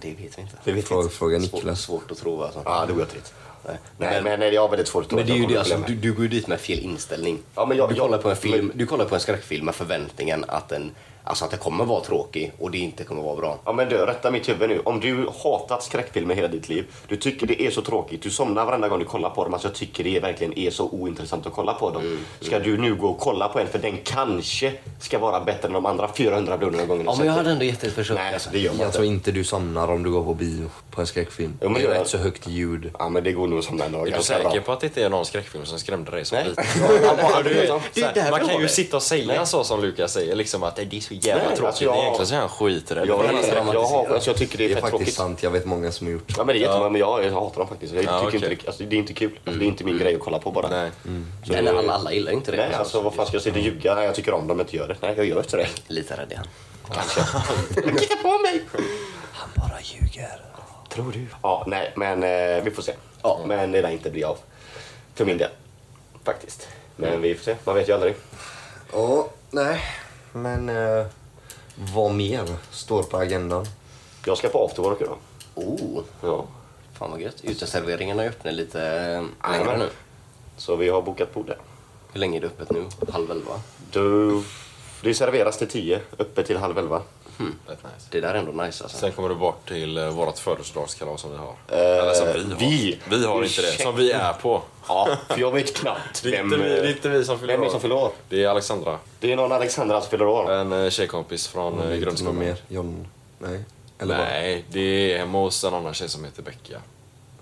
[SPEAKER 2] det vet vi inte.
[SPEAKER 4] Det vet jag
[SPEAKER 3] Fråga, fråga
[SPEAKER 4] inte.
[SPEAKER 2] Svårt,
[SPEAKER 3] Niklas.
[SPEAKER 2] svårt att tro alltså.
[SPEAKER 4] Ja, det går jag till. Nej, nej, men nej, jag har väldigt svårt att tro
[SPEAKER 2] Men
[SPEAKER 4] att
[SPEAKER 2] det är
[SPEAKER 4] jag
[SPEAKER 2] ju
[SPEAKER 4] kommer
[SPEAKER 2] det,
[SPEAKER 4] att
[SPEAKER 2] alltså,
[SPEAKER 4] glömma.
[SPEAKER 2] du, du går ju dit med fel inställning.
[SPEAKER 4] Ja, men jag-
[SPEAKER 2] du, kollar
[SPEAKER 4] jag-
[SPEAKER 2] på en film, du kollar på en skräckfilm med förväntningen att den Alltså att det kommer vara tråkig och det inte kommer vara bra.
[SPEAKER 4] Ja men du, rätta mitt huvud nu. Om du hatat skräckfilmer hela ditt liv, du tycker det är så tråkigt, du somnar varenda gång du kollar på dem, alltså jag tycker det verkligen är så ointressant att kolla på dem.
[SPEAKER 2] Mm.
[SPEAKER 4] Ska du nu gå och kolla på en för den kanske ska vara bättre än de andra 400 miljoner gångerna
[SPEAKER 2] Ja men jag hade ändå gett ett försök.
[SPEAKER 4] Nej,
[SPEAKER 2] alltså.
[SPEAKER 4] det gör man
[SPEAKER 3] Jag tror
[SPEAKER 4] inte.
[SPEAKER 3] inte du somnar om du går på bio på en skräckfilm.
[SPEAKER 4] Jo, men
[SPEAKER 3] det är
[SPEAKER 4] jag-
[SPEAKER 3] rätt så högt ljud.
[SPEAKER 4] Ja men det går nog som den dagen.
[SPEAKER 1] Är du säker på att det inte är någon skräckfilm som skrämde dig som
[SPEAKER 4] Nej.
[SPEAKER 1] liten?
[SPEAKER 4] Ja, bara-
[SPEAKER 1] Du vet,
[SPEAKER 4] Det är
[SPEAKER 1] såhär,
[SPEAKER 4] där vi
[SPEAKER 1] man kan
[SPEAKER 4] har
[SPEAKER 1] ju
[SPEAKER 4] det.
[SPEAKER 1] sitta och säga så som Lukas säger, liksom att det är så jävla
[SPEAKER 4] Nej,
[SPEAKER 1] tråkigt.
[SPEAKER 4] alltså jag-
[SPEAKER 1] Egentligen så är han skiträdd.
[SPEAKER 4] Jag,
[SPEAKER 1] för
[SPEAKER 4] jag,
[SPEAKER 1] hela
[SPEAKER 4] jag,
[SPEAKER 1] skräckfilm.
[SPEAKER 4] har- alltså, jag tycker det
[SPEAKER 3] Det
[SPEAKER 4] är
[SPEAKER 3] är
[SPEAKER 4] fett
[SPEAKER 3] faktiskt
[SPEAKER 4] tråkigt.
[SPEAKER 3] sant. Jag vet många som har gjort
[SPEAKER 4] Ja men det är jättemånga, men jag, jag hatar dem faktiskt. Jag
[SPEAKER 1] Ja,
[SPEAKER 4] tycker
[SPEAKER 1] okej.
[SPEAKER 4] inte, det- alltså, det är inte kul. Alltså, det är inte min grej att kolla på bara.
[SPEAKER 1] Nej.
[SPEAKER 4] Så-
[SPEAKER 2] Nej, nej, alla, alla gillar ju inte det.
[SPEAKER 4] Nej, alltså vad fan ska jag sitta och ljuga? Nej, jag tycker om dem, jag inte gör det. Nej, jag gör inte det.
[SPEAKER 2] Lite rädd är han.
[SPEAKER 4] Titta på mig!
[SPEAKER 2] Han bara ljuger.
[SPEAKER 4] Tror du? Ja, nej, men eh, vi får se. Ja, men det lär inte bli av. För min del. Faktiskt. Men vi får se. Man vet ju aldrig.
[SPEAKER 3] Ja, nej. Men eh, vad mer står på agendan?
[SPEAKER 4] Jag ska på afterwork idag.
[SPEAKER 2] Oh,
[SPEAKER 4] Ja.
[SPEAKER 2] fan vad gött. Uteserveringarna är öppna lite eh, längre
[SPEAKER 4] Jajamän.
[SPEAKER 2] nu.
[SPEAKER 4] Så vi har bokat bord där.
[SPEAKER 2] Hur länge är det öppet nu? Halv elva?
[SPEAKER 4] Du, det serveras till tio, öppet till halv elva.
[SPEAKER 1] Rätt nice.
[SPEAKER 2] Det där är ändå nice alltså.
[SPEAKER 1] Sen kommer du bort till eh, vårt födelsedagskalas som vi har. Eller som vi har.
[SPEAKER 4] Eh, vi-
[SPEAKER 1] vi har inte det. Som vi är på.
[SPEAKER 4] Ja, för jag vet knappt
[SPEAKER 1] Det är,
[SPEAKER 4] vem...
[SPEAKER 1] inte vi, det är
[SPEAKER 4] eh,
[SPEAKER 1] inte vi som fyller
[SPEAKER 4] Vem är det som fyller år?
[SPEAKER 1] Det är Alexandra.
[SPEAKER 4] Det är någon Alexandra som fyller år.
[SPEAKER 1] En eh, tjejkompis från eh,
[SPEAKER 3] Inte någon
[SPEAKER 1] grundskolan.
[SPEAKER 3] mer? John? Nej? Eller vad?
[SPEAKER 1] Nej, det är hemma hos en annan tjej som heter Becka.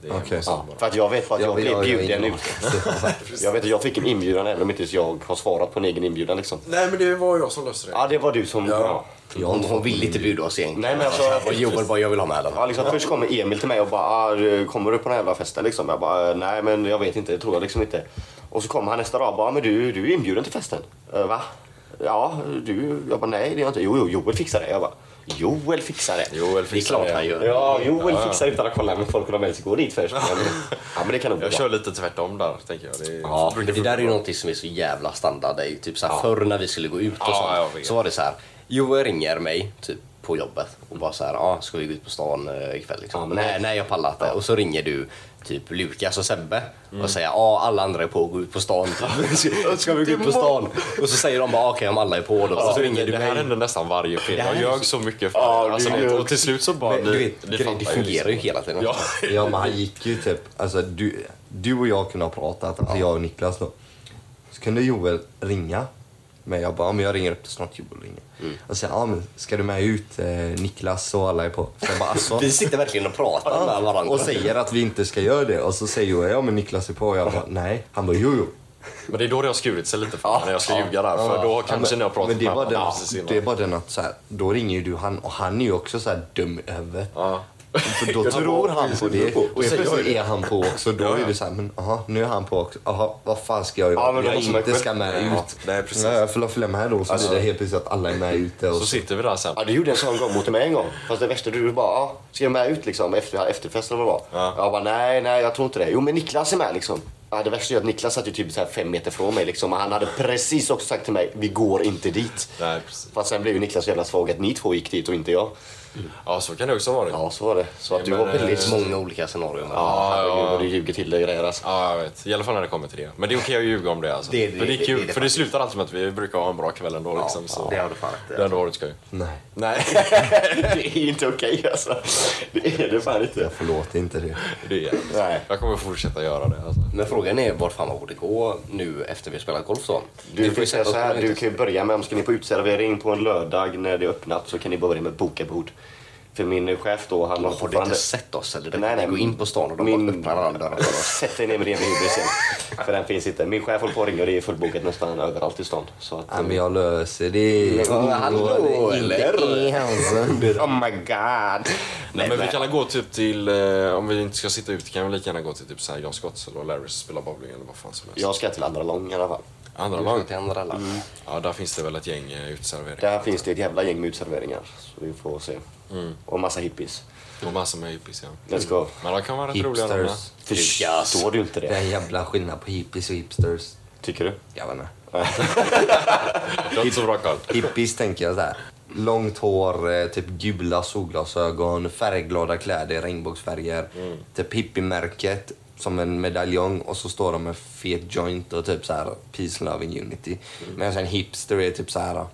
[SPEAKER 1] Det är hemma
[SPEAKER 3] Okej.
[SPEAKER 1] hos
[SPEAKER 4] Ja,
[SPEAKER 1] henne bara.
[SPEAKER 4] för att jag vet för att jag,
[SPEAKER 3] vill-
[SPEAKER 4] blev
[SPEAKER 3] vill
[SPEAKER 4] bjuden
[SPEAKER 3] inte
[SPEAKER 4] ut.
[SPEAKER 3] ha-
[SPEAKER 4] Jag vet att jag fick en inbjudan även om inte jag har svarat på en egen inbjudan liksom.
[SPEAKER 1] Nej, men det var jag som löste det.
[SPEAKER 4] Ja, det var du som... Ja.
[SPEAKER 3] Jag har
[SPEAKER 2] Hon,
[SPEAKER 3] inte
[SPEAKER 2] hon
[SPEAKER 3] fått
[SPEAKER 2] vill inte bjuda oss egentligen.
[SPEAKER 4] Nej, men alltså-
[SPEAKER 2] Och Joel bara, jag vill ha med den.
[SPEAKER 4] Ja, liksom, först kommer Emil till mig och bara ah, du, “Kommer du på den här jävla festen?” liksom. Jag bara "Eh, “Nej men jag vet inte, det tror jag liksom inte”. Och så kommer han nästa dag och bara "Ah, “Men du, du är inbjuden till festen”. "Eh, “Va?” “Ja, du?” Jag bara “Nej, det är jag inte.” “Jo, jo, Joel fixar det”. Jag bara “Joel fixar det?”
[SPEAKER 1] Joel
[SPEAKER 2] Det är
[SPEAKER 1] fixar
[SPEAKER 2] klart han
[SPEAKER 1] det.
[SPEAKER 2] gör.
[SPEAKER 4] Ja, Joel fixar utan att kolla med folk och de ens går dit först. Men, ja, men det kan nog bli
[SPEAKER 1] Jag
[SPEAKER 4] bra.
[SPEAKER 1] kör lite tvärtom där, tänker jag. Det,
[SPEAKER 2] Ja,
[SPEAKER 1] brukar
[SPEAKER 2] det där är
[SPEAKER 1] funka
[SPEAKER 2] ju
[SPEAKER 1] bra.
[SPEAKER 2] någonting som är så jävla standard. Det är ju typ så här, Förr när vi skulle gå ut och
[SPEAKER 1] Ja, jag
[SPEAKER 2] sånt,
[SPEAKER 1] vet.
[SPEAKER 2] så var det så här. Joel ringer mig typ på jobbet och bara så här, ah, ska vi gå ut på stan eh, ikväll? Liksom.
[SPEAKER 4] Ja, men-
[SPEAKER 2] nej, nej, jag pallar inte. Och så ringer du typ Lukas och Sebbe och säger, ah, alla andra är på att gå ut på stan. ska vi gå ut på stan? Och så säger de bara, ah, okej om alla är på då. Och så ringer
[SPEAKER 1] Alltså, det
[SPEAKER 2] du
[SPEAKER 1] här
[SPEAKER 2] mig.
[SPEAKER 1] händer nästan varje film.
[SPEAKER 2] Det här
[SPEAKER 1] Jag
[SPEAKER 2] är
[SPEAKER 1] ljög så mycket för
[SPEAKER 4] Ja,
[SPEAKER 1] det. Alltså,
[SPEAKER 4] du
[SPEAKER 1] det-
[SPEAKER 4] ljög.
[SPEAKER 1] Och till slut så bara...
[SPEAKER 2] Men, du vet, grejen, det
[SPEAKER 1] fattar
[SPEAKER 2] fungerar ju
[SPEAKER 1] liksom.
[SPEAKER 2] hela tiden.
[SPEAKER 1] Ja.
[SPEAKER 3] Ja men han gick ju typ, alltså du, du och jag kunde ha pratat, alltså jag och Niklas då. Så kunde Joel ringa. Men jag bara, ja, men jag ringer upp till snart Joel ringer.
[SPEAKER 1] Mm.
[SPEAKER 3] Och säger, ja men ska du med ut? Eh, Niklas och alla är på. Så jag bara, alltså.
[SPEAKER 2] Vi sitter verkligen och pratar med varandra.
[SPEAKER 3] Och säger att vi inte ska göra det. Och så säger Joel, ja men Niklas är på. Och jag bara, nej. Han bara, jo jo.
[SPEAKER 1] Men det är då det har skurit sig lite för mig, när jag ska ljuga där. För då kanske
[SPEAKER 3] men,
[SPEAKER 1] ni har pratat
[SPEAKER 3] men det
[SPEAKER 1] med
[SPEAKER 3] var
[SPEAKER 1] varandra
[SPEAKER 3] den,
[SPEAKER 1] precis innan.
[SPEAKER 3] Det är bara den att så här, då ringer ju du han och han är ju också så här dum i huvudet.
[SPEAKER 1] Ja.
[SPEAKER 3] För då tror han på det och helt plötsligt är han på också. Då
[SPEAKER 1] Ja, ja.
[SPEAKER 3] är det så här, men aha, nu är han på också. Aha, vad fan ska jag göra?
[SPEAKER 4] Ja, men då
[SPEAKER 3] jag
[SPEAKER 4] måste man
[SPEAKER 3] inte
[SPEAKER 4] själv-
[SPEAKER 3] ska med
[SPEAKER 1] Ja,
[SPEAKER 3] ut.
[SPEAKER 1] nej, precis.
[SPEAKER 3] Ja, jag får la följa med då. Så blir det helt plötsligt att alla är med ute. Och
[SPEAKER 1] Så sitter vi där sen.
[SPEAKER 4] Ja, du gjorde en sån gång mot mig en gång. Fast det värsta, du bara ah, “Ska jag med ut liksom efter efterfesten eller vad det var?”
[SPEAKER 1] Ja.
[SPEAKER 4] Jag bara “Nej, nej, jag tror inte det.” “Jo, men Niklas är med liksom.” ja, Det värsta är att Niklas satt ju typ så här fem meter från mig liksom. Och han hade precis också sagt till mig “Vi går inte dit”.
[SPEAKER 1] Nej, precis.
[SPEAKER 4] Fast sen blev ju Niklas så jävla svag att ni två gick dit och inte jag.
[SPEAKER 1] Ja, så kan det också ha varit.
[SPEAKER 4] Ja, så var det. Så att du
[SPEAKER 1] men,
[SPEAKER 4] var väldigt
[SPEAKER 1] eh,
[SPEAKER 4] små.
[SPEAKER 2] Många olika scenarion.
[SPEAKER 4] Ja,
[SPEAKER 1] ja,
[SPEAKER 4] herregud
[SPEAKER 1] ja.
[SPEAKER 4] vad du ljuger till dig grejer alltså.
[SPEAKER 1] Ja, jag vet. I alla fall när det kommer till det. Men det är okej att ljuga om det. Alltså.
[SPEAKER 2] Det är det-
[SPEAKER 1] för det, är
[SPEAKER 2] det är
[SPEAKER 1] kul,
[SPEAKER 2] det
[SPEAKER 1] för det
[SPEAKER 2] faktiskt.
[SPEAKER 1] slutar alltid med att vi brukar ha en bra kväll ändå. Liksom, så.
[SPEAKER 2] det har du fan rätt i,
[SPEAKER 1] Det har ändå varit skoj.
[SPEAKER 3] Nej,
[SPEAKER 1] Nej,
[SPEAKER 4] Det är inte okej alltså. Det är det fan inte.
[SPEAKER 3] förlåt inte det.
[SPEAKER 1] det är jävligt.
[SPEAKER 4] Nej.
[SPEAKER 1] Jag kommer fortsätta göra det. Alltså.
[SPEAKER 2] Men frågan är vart fan man borde gå nu efter vi har spelat golf då.
[SPEAKER 4] Du
[SPEAKER 2] Vi får
[SPEAKER 4] får
[SPEAKER 2] ju
[SPEAKER 4] säga
[SPEAKER 2] sätta
[SPEAKER 4] så
[SPEAKER 2] oss
[SPEAKER 4] här,
[SPEAKER 2] på
[SPEAKER 4] du
[SPEAKER 2] lite.
[SPEAKER 4] kan ju börja med om ska ni på utservering på en lördag när det är öppnat så kan ni börja med att boka bord. För min chef då, han har
[SPEAKER 2] Har du inte
[SPEAKER 4] fortfarande...
[SPEAKER 2] sett oss eller?
[SPEAKER 4] Nej,
[SPEAKER 2] Nej, nej.
[SPEAKER 4] nej,
[SPEAKER 2] Gå in på stan och de
[SPEAKER 4] min-
[SPEAKER 2] bara öppnar alla dörrar för oss.
[SPEAKER 4] Sätt dig ner med det med huvudet sen. För den finns inte. Min chef håller på att ringa och det är fullbokat nästan överallt i stan. Så att,
[SPEAKER 3] Nej, men jag löser det.
[SPEAKER 2] Ja, men hallå,
[SPEAKER 3] Oroa dig
[SPEAKER 2] eller?
[SPEAKER 3] Inte ens under.
[SPEAKER 4] Oh my god!
[SPEAKER 1] Nej, men vi kan väl gå typ till, eh, om vi inte ska sitta ute kan vi lika gärna gå till typ så här John Scotts eller Larrys och spela bowling eller vad fan som helst.
[SPEAKER 4] Jag ska till andra lång i alla fall.
[SPEAKER 1] Andra
[SPEAKER 2] Du ska
[SPEAKER 1] lag?
[SPEAKER 2] till andra land.
[SPEAKER 1] Ja, där finns det väl ett gäng eh, uteserveringar.
[SPEAKER 4] Där finns det ett jävla gäng med utserveringar. Så vi får se. Och massa hippies.
[SPEAKER 1] Och massor med hippies ja.
[SPEAKER 4] Let's go.
[SPEAKER 1] Men de kan vara rätt roliga de med.
[SPEAKER 3] Hipsters.
[SPEAKER 4] Förstår du inte
[SPEAKER 3] Det är
[SPEAKER 4] Mm. det?
[SPEAKER 3] en jävla skillnad på hippies och hipsters.
[SPEAKER 4] Tycker du?
[SPEAKER 3] Jag vet inte.
[SPEAKER 1] Jag har inte så bra koll.
[SPEAKER 3] Hippies tänker jag såhär. Långt hår, eh, typ gula solglasögon, färgglada kläder i regnbågsfärger. Typ hippiemärket som en medaljong och så står de med fet joint och typ så här peace, love and unity. Men sen hipster är typ så här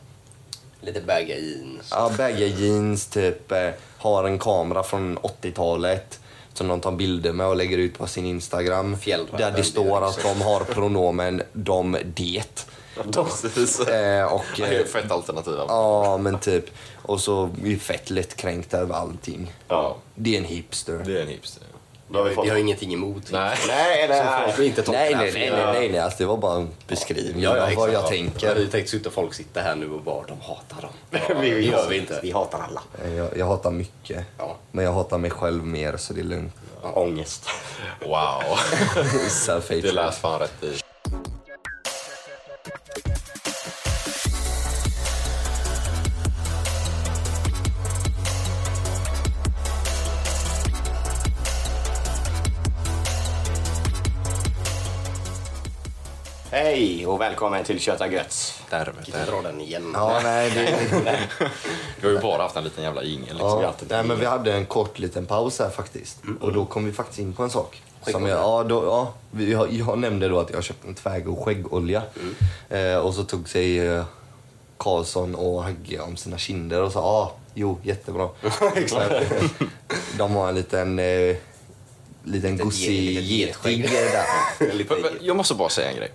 [SPEAKER 2] Lite baggy jeans.
[SPEAKER 3] Ja, baggy jeans, typ eh, har en kamera från 80-talet som de tar bilder med och lägger ut på sin Instagram.
[SPEAKER 2] Fjällräven,
[SPEAKER 3] där
[SPEAKER 2] det är
[SPEAKER 3] det står att
[SPEAKER 2] också.
[SPEAKER 3] de har pronomen de, det.
[SPEAKER 1] Precis.
[SPEAKER 3] Eh, och,
[SPEAKER 1] Det är
[SPEAKER 3] eh,
[SPEAKER 1] ett fett alternativ. alltså.
[SPEAKER 3] ja, men typ. Och så är fett lättkränkt över allting.
[SPEAKER 4] Ja.
[SPEAKER 3] Det är en hipster.
[SPEAKER 1] Det är en hipster.
[SPEAKER 4] Då har vi
[SPEAKER 2] Vi
[SPEAKER 4] fått...
[SPEAKER 2] har ingenting emot.
[SPEAKER 1] Nej.
[SPEAKER 4] Nej,
[SPEAKER 2] Så folk får
[SPEAKER 4] nej.
[SPEAKER 2] inte tolka
[SPEAKER 3] Nej,
[SPEAKER 2] det här
[SPEAKER 3] nej,
[SPEAKER 2] fel.
[SPEAKER 3] nej, nej, nej, nej. Alltså, det var bara en beskrivning
[SPEAKER 2] Ja, ja,
[SPEAKER 3] av
[SPEAKER 2] exakt.
[SPEAKER 3] vad jag
[SPEAKER 2] liksom. Ja.
[SPEAKER 3] tänker.
[SPEAKER 2] Vi tänkte sitta folk sitter här nu och bara de hatar dem.
[SPEAKER 4] Vi-
[SPEAKER 2] det gör vi inte.
[SPEAKER 4] Vi hatar alla.
[SPEAKER 3] Eh, Jag, jag hatar mycket.
[SPEAKER 2] Ja.
[SPEAKER 3] Men jag hatar mig själv mer, så det är lugnt.
[SPEAKER 4] Ångest.
[SPEAKER 1] Wow.
[SPEAKER 3] Self-hatred.
[SPEAKER 1] Det lät fan rätt i.
[SPEAKER 4] Hej och välkommen till Köta Götz.
[SPEAKER 2] Kan inte dra den igen.
[SPEAKER 3] Ja, nej, det,
[SPEAKER 1] Vi har ju bara haft en liten jävla jingel. Liksom.
[SPEAKER 4] vi
[SPEAKER 3] Ja,
[SPEAKER 4] alltid
[SPEAKER 3] nej,
[SPEAKER 4] driver.
[SPEAKER 3] men vi hade en kort liten paus här faktiskt. Och då kom vi faktiskt in på en sak. Som
[SPEAKER 2] Skäggolja.
[SPEAKER 3] jag, ja, då, ja, vi- jag, jag nämnde då att jag köpte en tvärg och skäggolja. Eh, och så tog sig eh, Karlsson och Hagge om sina kinder och sa ja, jo, jättebra. De har en liten, eh, liten
[SPEAKER 2] ge-
[SPEAKER 3] gosig
[SPEAKER 2] litet getskägg.
[SPEAKER 3] getskägg där.
[SPEAKER 2] Lite-
[SPEAKER 1] Men- men Jag måste bara säga en grej.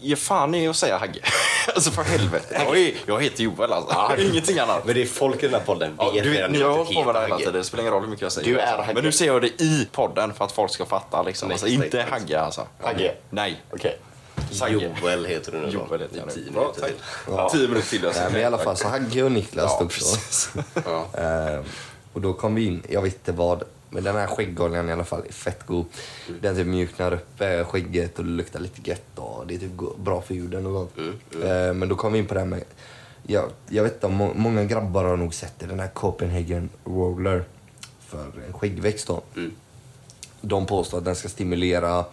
[SPEAKER 1] Ge fan i att säga Hagge. Alltså för helvete. Jag, är, jag heter Joel alltså. Ingenting annat.
[SPEAKER 2] Men det är folk i den här podden
[SPEAKER 1] Ja, du vet,
[SPEAKER 2] redan
[SPEAKER 1] ni har
[SPEAKER 2] att
[SPEAKER 1] hållit
[SPEAKER 2] det
[SPEAKER 1] på med det här
[SPEAKER 2] heter
[SPEAKER 1] hela
[SPEAKER 2] Hagge.
[SPEAKER 1] tiden, det spelar ingen roll hur mycket jag säger.
[SPEAKER 4] Du är Hagge.
[SPEAKER 1] Men nu säger jag det i podden för att folk ska fatta. Liksom.
[SPEAKER 2] Nej,
[SPEAKER 1] Alltså,
[SPEAKER 2] nej,
[SPEAKER 1] inte
[SPEAKER 2] nej.
[SPEAKER 1] Hagge alltså.
[SPEAKER 4] Hagge.
[SPEAKER 1] Nej.
[SPEAKER 4] Okej.
[SPEAKER 1] Sagge.
[SPEAKER 2] Joel heter du nu då.
[SPEAKER 1] Joel heter jag
[SPEAKER 2] I
[SPEAKER 1] nu.
[SPEAKER 2] tio
[SPEAKER 1] Bra,
[SPEAKER 2] minuter
[SPEAKER 1] tack.
[SPEAKER 2] till.
[SPEAKER 4] Ja.
[SPEAKER 1] Tio minuter till. jag ska
[SPEAKER 3] Nej, men i
[SPEAKER 1] säga
[SPEAKER 3] alla fall så Hagge och Niklas
[SPEAKER 1] Ja,
[SPEAKER 3] stod så.
[SPEAKER 1] precis.
[SPEAKER 2] Ja.
[SPEAKER 3] Eh, och då kom vi in, jag vet inte vad, men den här skäggoljan i alla fall är fett god. Den typ mjuknar upp eh, skägget och det luktar lite gött och det är typ go- bra för huden och sånt. Eh, men då kom vi in på det här med, jag, jag vet inte, om må, många grabbar har nog sett det, den här Copenhagen Roller för en skäggväxt då. De påstår att den ska stimulera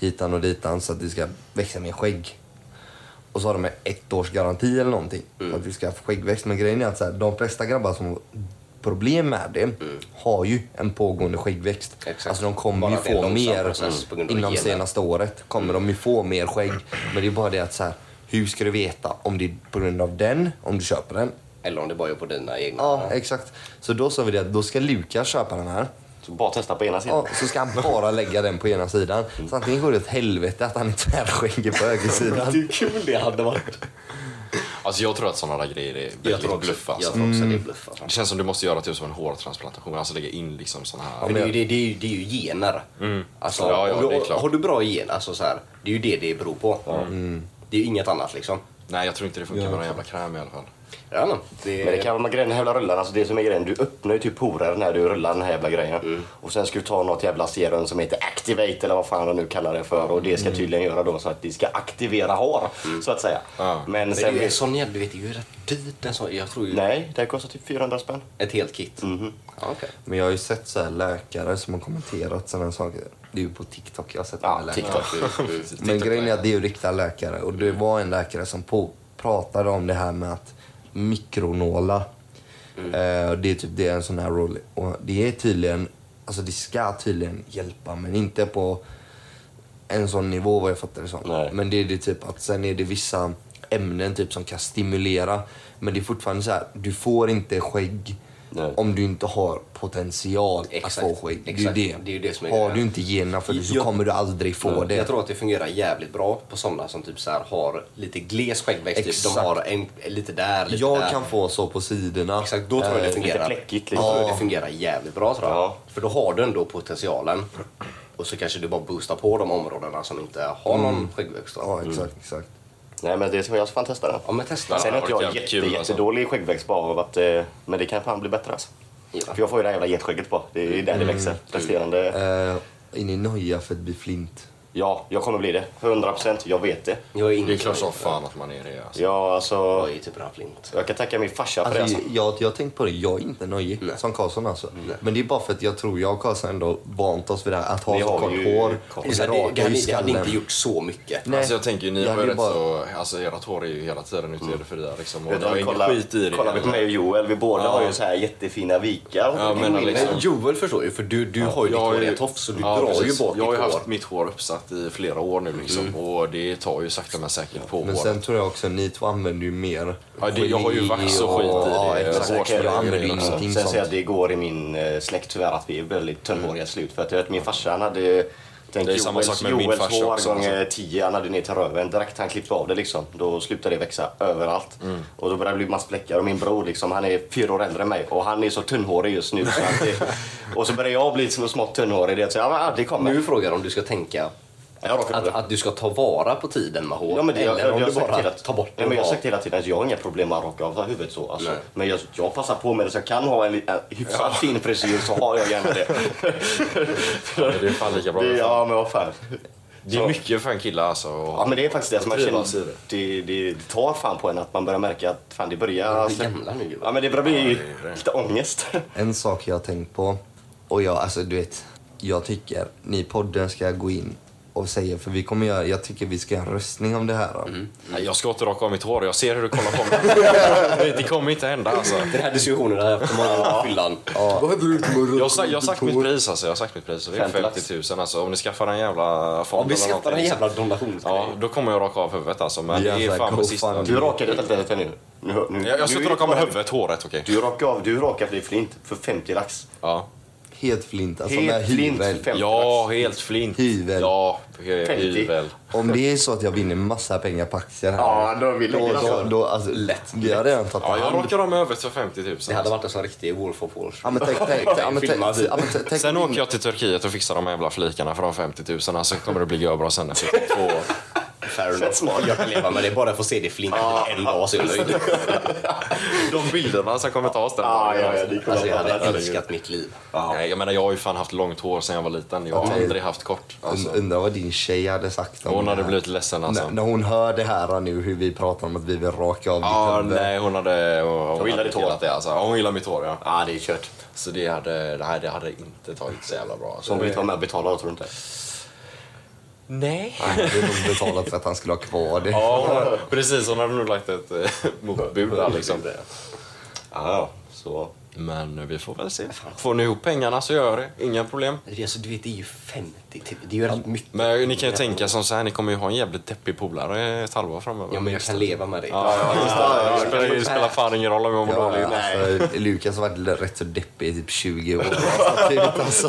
[SPEAKER 3] hitan och ditan så att det ska växa mer skägg. Och så har de en ettårsgaranti eller någonting.
[SPEAKER 2] Mm.
[SPEAKER 3] För att vi ska få skäggväxt. Men grejen är att så här, de flesta grabbar som har problem med det har ju en pågående skäggväxt.
[SPEAKER 2] Mm. Exakt.
[SPEAKER 3] Alltså de kommer
[SPEAKER 2] Bara
[SPEAKER 3] ju
[SPEAKER 2] det är en
[SPEAKER 3] få
[SPEAKER 2] långsam
[SPEAKER 3] mer
[SPEAKER 2] process på grund av
[SPEAKER 3] inom
[SPEAKER 2] gener.
[SPEAKER 3] senaste året. Kommer de ju få mer skägg. Men det är bara det att så här, hur ska du veta om det är på grund av den, om du köper den?
[SPEAKER 2] Eller om det bara är på dina egna.
[SPEAKER 3] Ja, exakt. Så då sa vi det att då ska Lukas köpa den här.
[SPEAKER 4] Så bara testa på ena sidan.
[SPEAKER 3] Ja, så ska han bara lägga den på ena sidan. Så antingen går det åt helvete att han är tvärskäggig på högersidan.
[SPEAKER 2] Hur kul det hade varit.
[SPEAKER 1] Alltså, jag tror att sådana där grejer är
[SPEAKER 2] Jag tror
[SPEAKER 1] väldigt
[SPEAKER 2] också,
[SPEAKER 1] bluff.
[SPEAKER 2] jag
[SPEAKER 1] Alltså.
[SPEAKER 2] tror också det är bluff. Alltså.
[SPEAKER 1] Det känns som du måste göra typ som en hårtransplantation. Alltså lägga in liksom såna här...
[SPEAKER 2] För det, är ju, det, det, är ju, det är ju gener. Alltså,
[SPEAKER 1] Ja, ja,
[SPEAKER 2] om du,
[SPEAKER 1] det är klart.
[SPEAKER 2] Har du bra gener, alltså, så här, det är ju det det beror på. Det är ju inget annat liksom.
[SPEAKER 1] Nej, jag tror inte det funkar med någon jävla kräm i alla fall.
[SPEAKER 2] Ja, men det,
[SPEAKER 4] Men det kan vara grejen med jävla rullarna, alltså det som är grejen, du öppnar ju typ porer när du rullar den här jävla grejen. Och sen ska du ta något jävla serum som heter Activate eller vad fan de nu kallar det för. Och det ska tydligen göra då så att det ska aktivera hår, så att säga.
[SPEAKER 1] Ja.
[SPEAKER 4] Men
[SPEAKER 2] men det är
[SPEAKER 4] sen...
[SPEAKER 2] ju en sån jävla, du vet, det är ju rätt dyrt en sån. Jag tror ju
[SPEAKER 4] Nej, det här kostar typ 400 spänn.
[SPEAKER 2] ett helt kit. Ja, okej.
[SPEAKER 3] Men jag har ju sett så här läkare som har kommenterat sådana saker. Det är ju på TikTok jag har sett
[SPEAKER 4] Ja,
[SPEAKER 3] de här läkarna.
[SPEAKER 4] TikTok.
[SPEAKER 3] Men grejen är att det är ju riktiga läkare. Och det var en läkare som på, pratade om det här med att mikronåla.
[SPEAKER 2] Mm.
[SPEAKER 3] Eh, och det är typ det är en sån här roll. Och det är tydligen, alltså det ska tydligen hjälpa men inte på en sån nivå vad jag fattar det som.
[SPEAKER 4] Nej.
[SPEAKER 3] Men det är det typ att sen är det vissa ämnen typ som kan stimulera. Men det är fortfarande så här, du får inte skägg
[SPEAKER 4] Nej.
[SPEAKER 3] om du inte har potential
[SPEAKER 2] Exakt,
[SPEAKER 3] att få skägg. Det är ju
[SPEAKER 2] exakt.
[SPEAKER 3] det.
[SPEAKER 2] Det är ju det som är
[SPEAKER 3] har
[SPEAKER 2] grejen.
[SPEAKER 3] du inte generna för det så
[SPEAKER 2] Jag-
[SPEAKER 3] kommer du aldrig få det.
[SPEAKER 2] Jag tror att det fungerar jävligt bra på sådana som typ så här har lite gles skäggväxt. Typ.
[SPEAKER 3] Exakt.
[SPEAKER 2] De har en, lite där, lite
[SPEAKER 3] Jag
[SPEAKER 2] där.
[SPEAKER 3] kan få så på sidorna.
[SPEAKER 2] Exakt, då tror jag det
[SPEAKER 3] Eh,
[SPEAKER 2] fungerar.
[SPEAKER 4] lite fläckigt,
[SPEAKER 2] Då
[SPEAKER 4] liksom.
[SPEAKER 2] tror jag det fungerar jävligt bra tror jag.
[SPEAKER 4] Ja.
[SPEAKER 2] För då har du ändå potentialen. Och så kanske du bara boostar på de områdena som inte har någon skäggväxt. då.
[SPEAKER 3] Ja, exakt, exakt.
[SPEAKER 4] Nej men det ska jag fan testa den.
[SPEAKER 2] Ja men testa.
[SPEAKER 4] Sen är
[SPEAKER 1] det
[SPEAKER 4] inte
[SPEAKER 1] har
[SPEAKER 4] jag
[SPEAKER 1] varit jävligt
[SPEAKER 4] jätte,
[SPEAKER 1] kul, alltså.
[SPEAKER 4] jättedålig i skäggväxt bara av att... eh, Men det kan fan bli bättre alltså.
[SPEAKER 2] Ja.
[SPEAKER 4] För jag får ju det här jävla getskägget på. Det är ju där
[SPEAKER 1] Mm,
[SPEAKER 4] det växer. Resterande...
[SPEAKER 2] Mm.
[SPEAKER 3] Eh, in i noja för att bli flint.
[SPEAKER 4] Ja, jag kommer bli det. 100 procent. Jag vet det.
[SPEAKER 2] Jag är inne
[SPEAKER 1] Det är klart som fan att man är det. Alltså.
[SPEAKER 4] Ja, alltså...
[SPEAKER 2] Jag är typ redan flint.
[SPEAKER 4] Jag kan tacka min farsa för det
[SPEAKER 3] Alltså,
[SPEAKER 4] alltså.
[SPEAKER 3] jag, jag har tänkt på det, jag är inte nojig som Karlsson alltså. Men det är bara för att jag tror jag och Karlsson ändå vant oss vid det här att ha
[SPEAKER 4] Ni
[SPEAKER 3] så
[SPEAKER 4] har
[SPEAKER 3] kort
[SPEAKER 4] ju
[SPEAKER 3] hår
[SPEAKER 4] kort-
[SPEAKER 3] och
[SPEAKER 2] Det,
[SPEAKER 3] så
[SPEAKER 2] det, det,
[SPEAKER 3] raka
[SPEAKER 2] hade, det
[SPEAKER 3] i
[SPEAKER 2] hade inte
[SPEAKER 3] skallen.
[SPEAKER 2] gjort så mycket.
[SPEAKER 3] Nej.
[SPEAKER 1] Alltså jag tänker, ni
[SPEAKER 3] Jag
[SPEAKER 1] har ju
[SPEAKER 3] hade
[SPEAKER 1] rätt
[SPEAKER 3] bara-
[SPEAKER 1] så... Alltså ert hår är ju hela tiden ute i det fria liksom. Och
[SPEAKER 4] Vet
[SPEAKER 1] det
[SPEAKER 4] du,
[SPEAKER 1] är ingen
[SPEAKER 4] kolla,
[SPEAKER 1] skit i det.
[SPEAKER 4] kolla på mig och Joel, vi båda har ju så här jättefina vikar.
[SPEAKER 1] Ja, men
[SPEAKER 4] Min-
[SPEAKER 1] liksom-
[SPEAKER 2] Joel förstår ju för du, du har ju ditt
[SPEAKER 1] Jag
[SPEAKER 2] hår
[SPEAKER 1] är-
[SPEAKER 2] i ett tofs så du
[SPEAKER 1] Ja,
[SPEAKER 2] drar
[SPEAKER 1] precis.
[SPEAKER 2] ju bort
[SPEAKER 1] Jag har ju
[SPEAKER 2] ditt hår.
[SPEAKER 1] haft mitt hår uppsatt satt i flera år nu liksom. Och det tar ju sakta men säkert på
[SPEAKER 3] Men
[SPEAKER 1] åren.
[SPEAKER 3] sen tror jag också ni två använder ju mer
[SPEAKER 1] Ja, det- jag har ju
[SPEAKER 3] geni
[SPEAKER 1] varit så
[SPEAKER 3] och-
[SPEAKER 1] skit i det.
[SPEAKER 3] Ja, exakt.
[SPEAKER 1] Vårt-
[SPEAKER 3] Jag använder ju
[SPEAKER 1] grejen också.
[SPEAKER 3] ingenting
[SPEAKER 4] Sen säger jag
[SPEAKER 3] sånt. Mm.
[SPEAKER 4] att det går i min eh, släkt tyvärr att vi är väldigt tunnhåriga slut. För att jag vet min farsa han hade Tänk,
[SPEAKER 1] Det är samma sak med min
[SPEAKER 4] Joels
[SPEAKER 1] farsa
[SPEAKER 4] hår
[SPEAKER 1] också,
[SPEAKER 4] gånger
[SPEAKER 1] alltså.
[SPEAKER 4] 10, han hade ner till röven direkt. Han klippte av det liksom. Då slutade det växa överallt.
[SPEAKER 3] Mm.
[SPEAKER 4] Och då började det bli massa fläckar. Och min bror liksom, han är fyra år äldre än mig och han är så tunnhårig just nu. Så att det, och så börjar jag bli så smått tunnhårig. Det, är så, ja, men, ja, det kommer.
[SPEAKER 2] Nu frågar om du ska tänka
[SPEAKER 4] Jag råkar-
[SPEAKER 2] att, att du ska ta vara på tiden med hår
[SPEAKER 4] Ja, men det,
[SPEAKER 2] eller
[SPEAKER 4] jag, jag,
[SPEAKER 2] om
[SPEAKER 4] jag,
[SPEAKER 2] du
[SPEAKER 4] har sagt
[SPEAKER 2] bara
[SPEAKER 4] hela,
[SPEAKER 2] tar bort
[SPEAKER 4] nej,
[SPEAKER 2] den.
[SPEAKER 4] men jag har
[SPEAKER 2] bara.
[SPEAKER 4] sagt hela tiden att jag har inga problem med att raka av huvudet så. Alltså.
[SPEAKER 2] Nej.
[SPEAKER 4] Men jag, jag passar på med det. Så jag kan ha en, li- en hyfsat fin frisyr så har jag gärna det.
[SPEAKER 1] Det är fan lika bra.
[SPEAKER 4] det ja, men vad fan.
[SPEAKER 1] Det är mycket för en kille alltså. Och,
[SPEAKER 4] Ja, men det är faktiskt det som man
[SPEAKER 1] Jag
[SPEAKER 4] känner.
[SPEAKER 1] trivas i det.
[SPEAKER 4] Det, det tar fan på en att man börjar märka att fan, det börjar...
[SPEAKER 2] Vi är gamla nu. ju.
[SPEAKER 4] ja, men det börjar bli
[SPEAKER 1] Ja, det är det.
[SPEAKER 4] lite ångest.
[SPEAKER 3] En sak jag har tänkt på, och jag, alltså du vet, jag tycker ni i podden ska gå in och säga, för vi kommer göra, jag tycker vi ska göra en röstning om det här. då.
[SPEAKER 1] Nej, jag ska inte raka av mitt hår. Jag ser hur du kollar på mig. det kommer inte hända alltså.
[SPEAKER 2] Den här diskussionen har jag haft på många fyllan.
[SPEAKER 3] Vad hade du gjort om
[SPEAKER 1] Jag har, sagt, jag har sagt mitt pris alltså. Jag har sagt mitt pris. Det är
[SPEAKER 4] 50 lax.
[SPEAKER 1] 50 000 alltså. Om ni skaffar en jävla fond
[SPEAKER 2] Ja, vi
[SPEAKER 1] eller
[SPEAKER 2] skattar en
[SPEAKER 1] någonting, liksom.
[SPEAKER 2] jävla donationsgrej.
[SPEAKER 1] Ja, då kommer jag raka av huvudet alltså. Men
[SPEAKER 3] Det är
[SPEAKER 1] det är
[SPEAKER 3] alltså
[SPEAKER 1] fan på sista.
[SPEAKER 3] GoFundMe.
[SPEAKER 4] Du rakade lite lite nu. nu, nu
[SPEAKER 1] Jag, jag ska
[SPEAKER 4] nu-
[SPEAKER 1] inte raka av huvudet, håret okej.
[SPEAKER 4] Du rakade av, du rakade dig flint för 50 lax.
[SPEAKER 1] Ja.
[SPEAKER 3] Helt flint, alltså med
[SPEAKER 4] Helt flint för
[SPEAKER 3] hyvel.
[SPEAKER 4] 50
[SPEAKER 1] ja,
[SPEAKER 4] lax.
[SPEAKER 1] helt flint.
[SPEAKER 3] Hyvel.
[SPEAKER 1] Ja, hyvel.
[SPEAKER 4] 50.
[SPEAKER 3] Om det är så att jag vinner massa pengar på aktier här.
[SPEAKER 4] Ja, då vill
[SPEAKER 3] då,
[SPEAKER 4] jag
[SPEAKER 3] då, då, alltså, lätt. Vi har redan tagit
[SPEAKER 1] Ja, jag
[SPEAKER 3] hand.
[SPEAKER 1] rakar av mig huvudet för 50 000.
[SPEAKER 2] Det hade varit en sån riktig Wolf of Wall
[SPEAKER 3] Ja,
[SPEAKER 2] Street. typ.
[SPEAKER 3] men tänk, tänk, ja, men tänk,
[SPEAKER 2] Filma
[SPEAKER 3] ja, men tänk- tänk-
[SPEAKER 1] Sen åker jag till Turkiet och fixar de här jävla flikarna för de 50 000. Alltså kommer det bli görbra sen efter två år.
[SPEAKER 2] Fair enough. Jag kan leva med det, bara jag får se det flinka till en dag så är jag nöjd.
[SPEAKER 1] De bilderna som kommer tas den
[SPEAKER 4] Ja, ja, ja,
[SPEAKER 1] dagen.
[SPEAKER 4] det kommer
[SPEAKER 2] Alltså jag
[SPEAKER 4] att vara-
[SPEAKER 2] hade älskat mitt liv.
[SPEAKER 1] Nej, jag menar jag har ju fan haft långt hår sen jag var liten. Jag har
[SPEAKER 3] Okej.
[SPEAKER 1] aldrig haft kort.
[SPEAKER 3] Und-
[SPEAKER 1] Alltså.
[SPEAKER 3] Undrar vad din tjej hade sagt om
[SPEAKER 1] Hon
[SPEAKER 3] det
[SPEAKER 1] hade
[SPEAKER 3] här.
[SPEAKER 1] blivit ledsen alltså.
[SPEAKER 3] När, när hon hör det här nu, hur vi pratar om att vi vill raka av
[SPEAKER 1] Ja,
[SPEAKER 3] ditt huvud.
[SPEAKER 1] nej hon hade... Hon, hon
[SPEAKER 4] gillar
[SPEAKER 1] hade
[SPEAKER 4] ditt hår.
[SPEAKER 1] gillat Det, alltså. Ja, Hon gillar mitt hår ja.
[SPEAKER 4] Ja, det är kört.
[SPEAKER 1] Så det hade, nej, det hade inte tagit så jävla bra.
[SPEAKER 4] Så
[SPEAKER 1] Alltså.
[SPEAKER 4] hon vill inte vara med och betala, tror du inte?
[SPEAKER 1] Nej.
[SPEAKER 3] Han hade nog betalat för att han skulle ha kvar det.
[SPEAKER 1] Ja, hon hade, precis. Hon hade nog lagt ett eh, motbud där liksom.
[SPEAKER 4] Ja, ja. Så.
[SPEAKER 1] Men vi får väl se. Får ni ihop pengarna så gör jag det. Inga problem.
[SPEAKER 2] Det är, alltså, du vet, det är ju 50 typ. Det är ju rätt mycket.
[SPEAKER 1] Men ni kan ju tänka som så här, ni kommer ju ha en jävligt deppig polare ett halvår framöver.
[SPEAKER 2] Ja, men jag kan leva med det.
[SPEAKER 1] det spelar, det spelar fan ingen roll om jag mår
[SPEAKER 3] Ja,
[SPEAKER 1] dåligt.
[SPEAKER 3] alltså, Lukas har varit rätt så deppig i typ 20 år. Alltså, typ, alltså.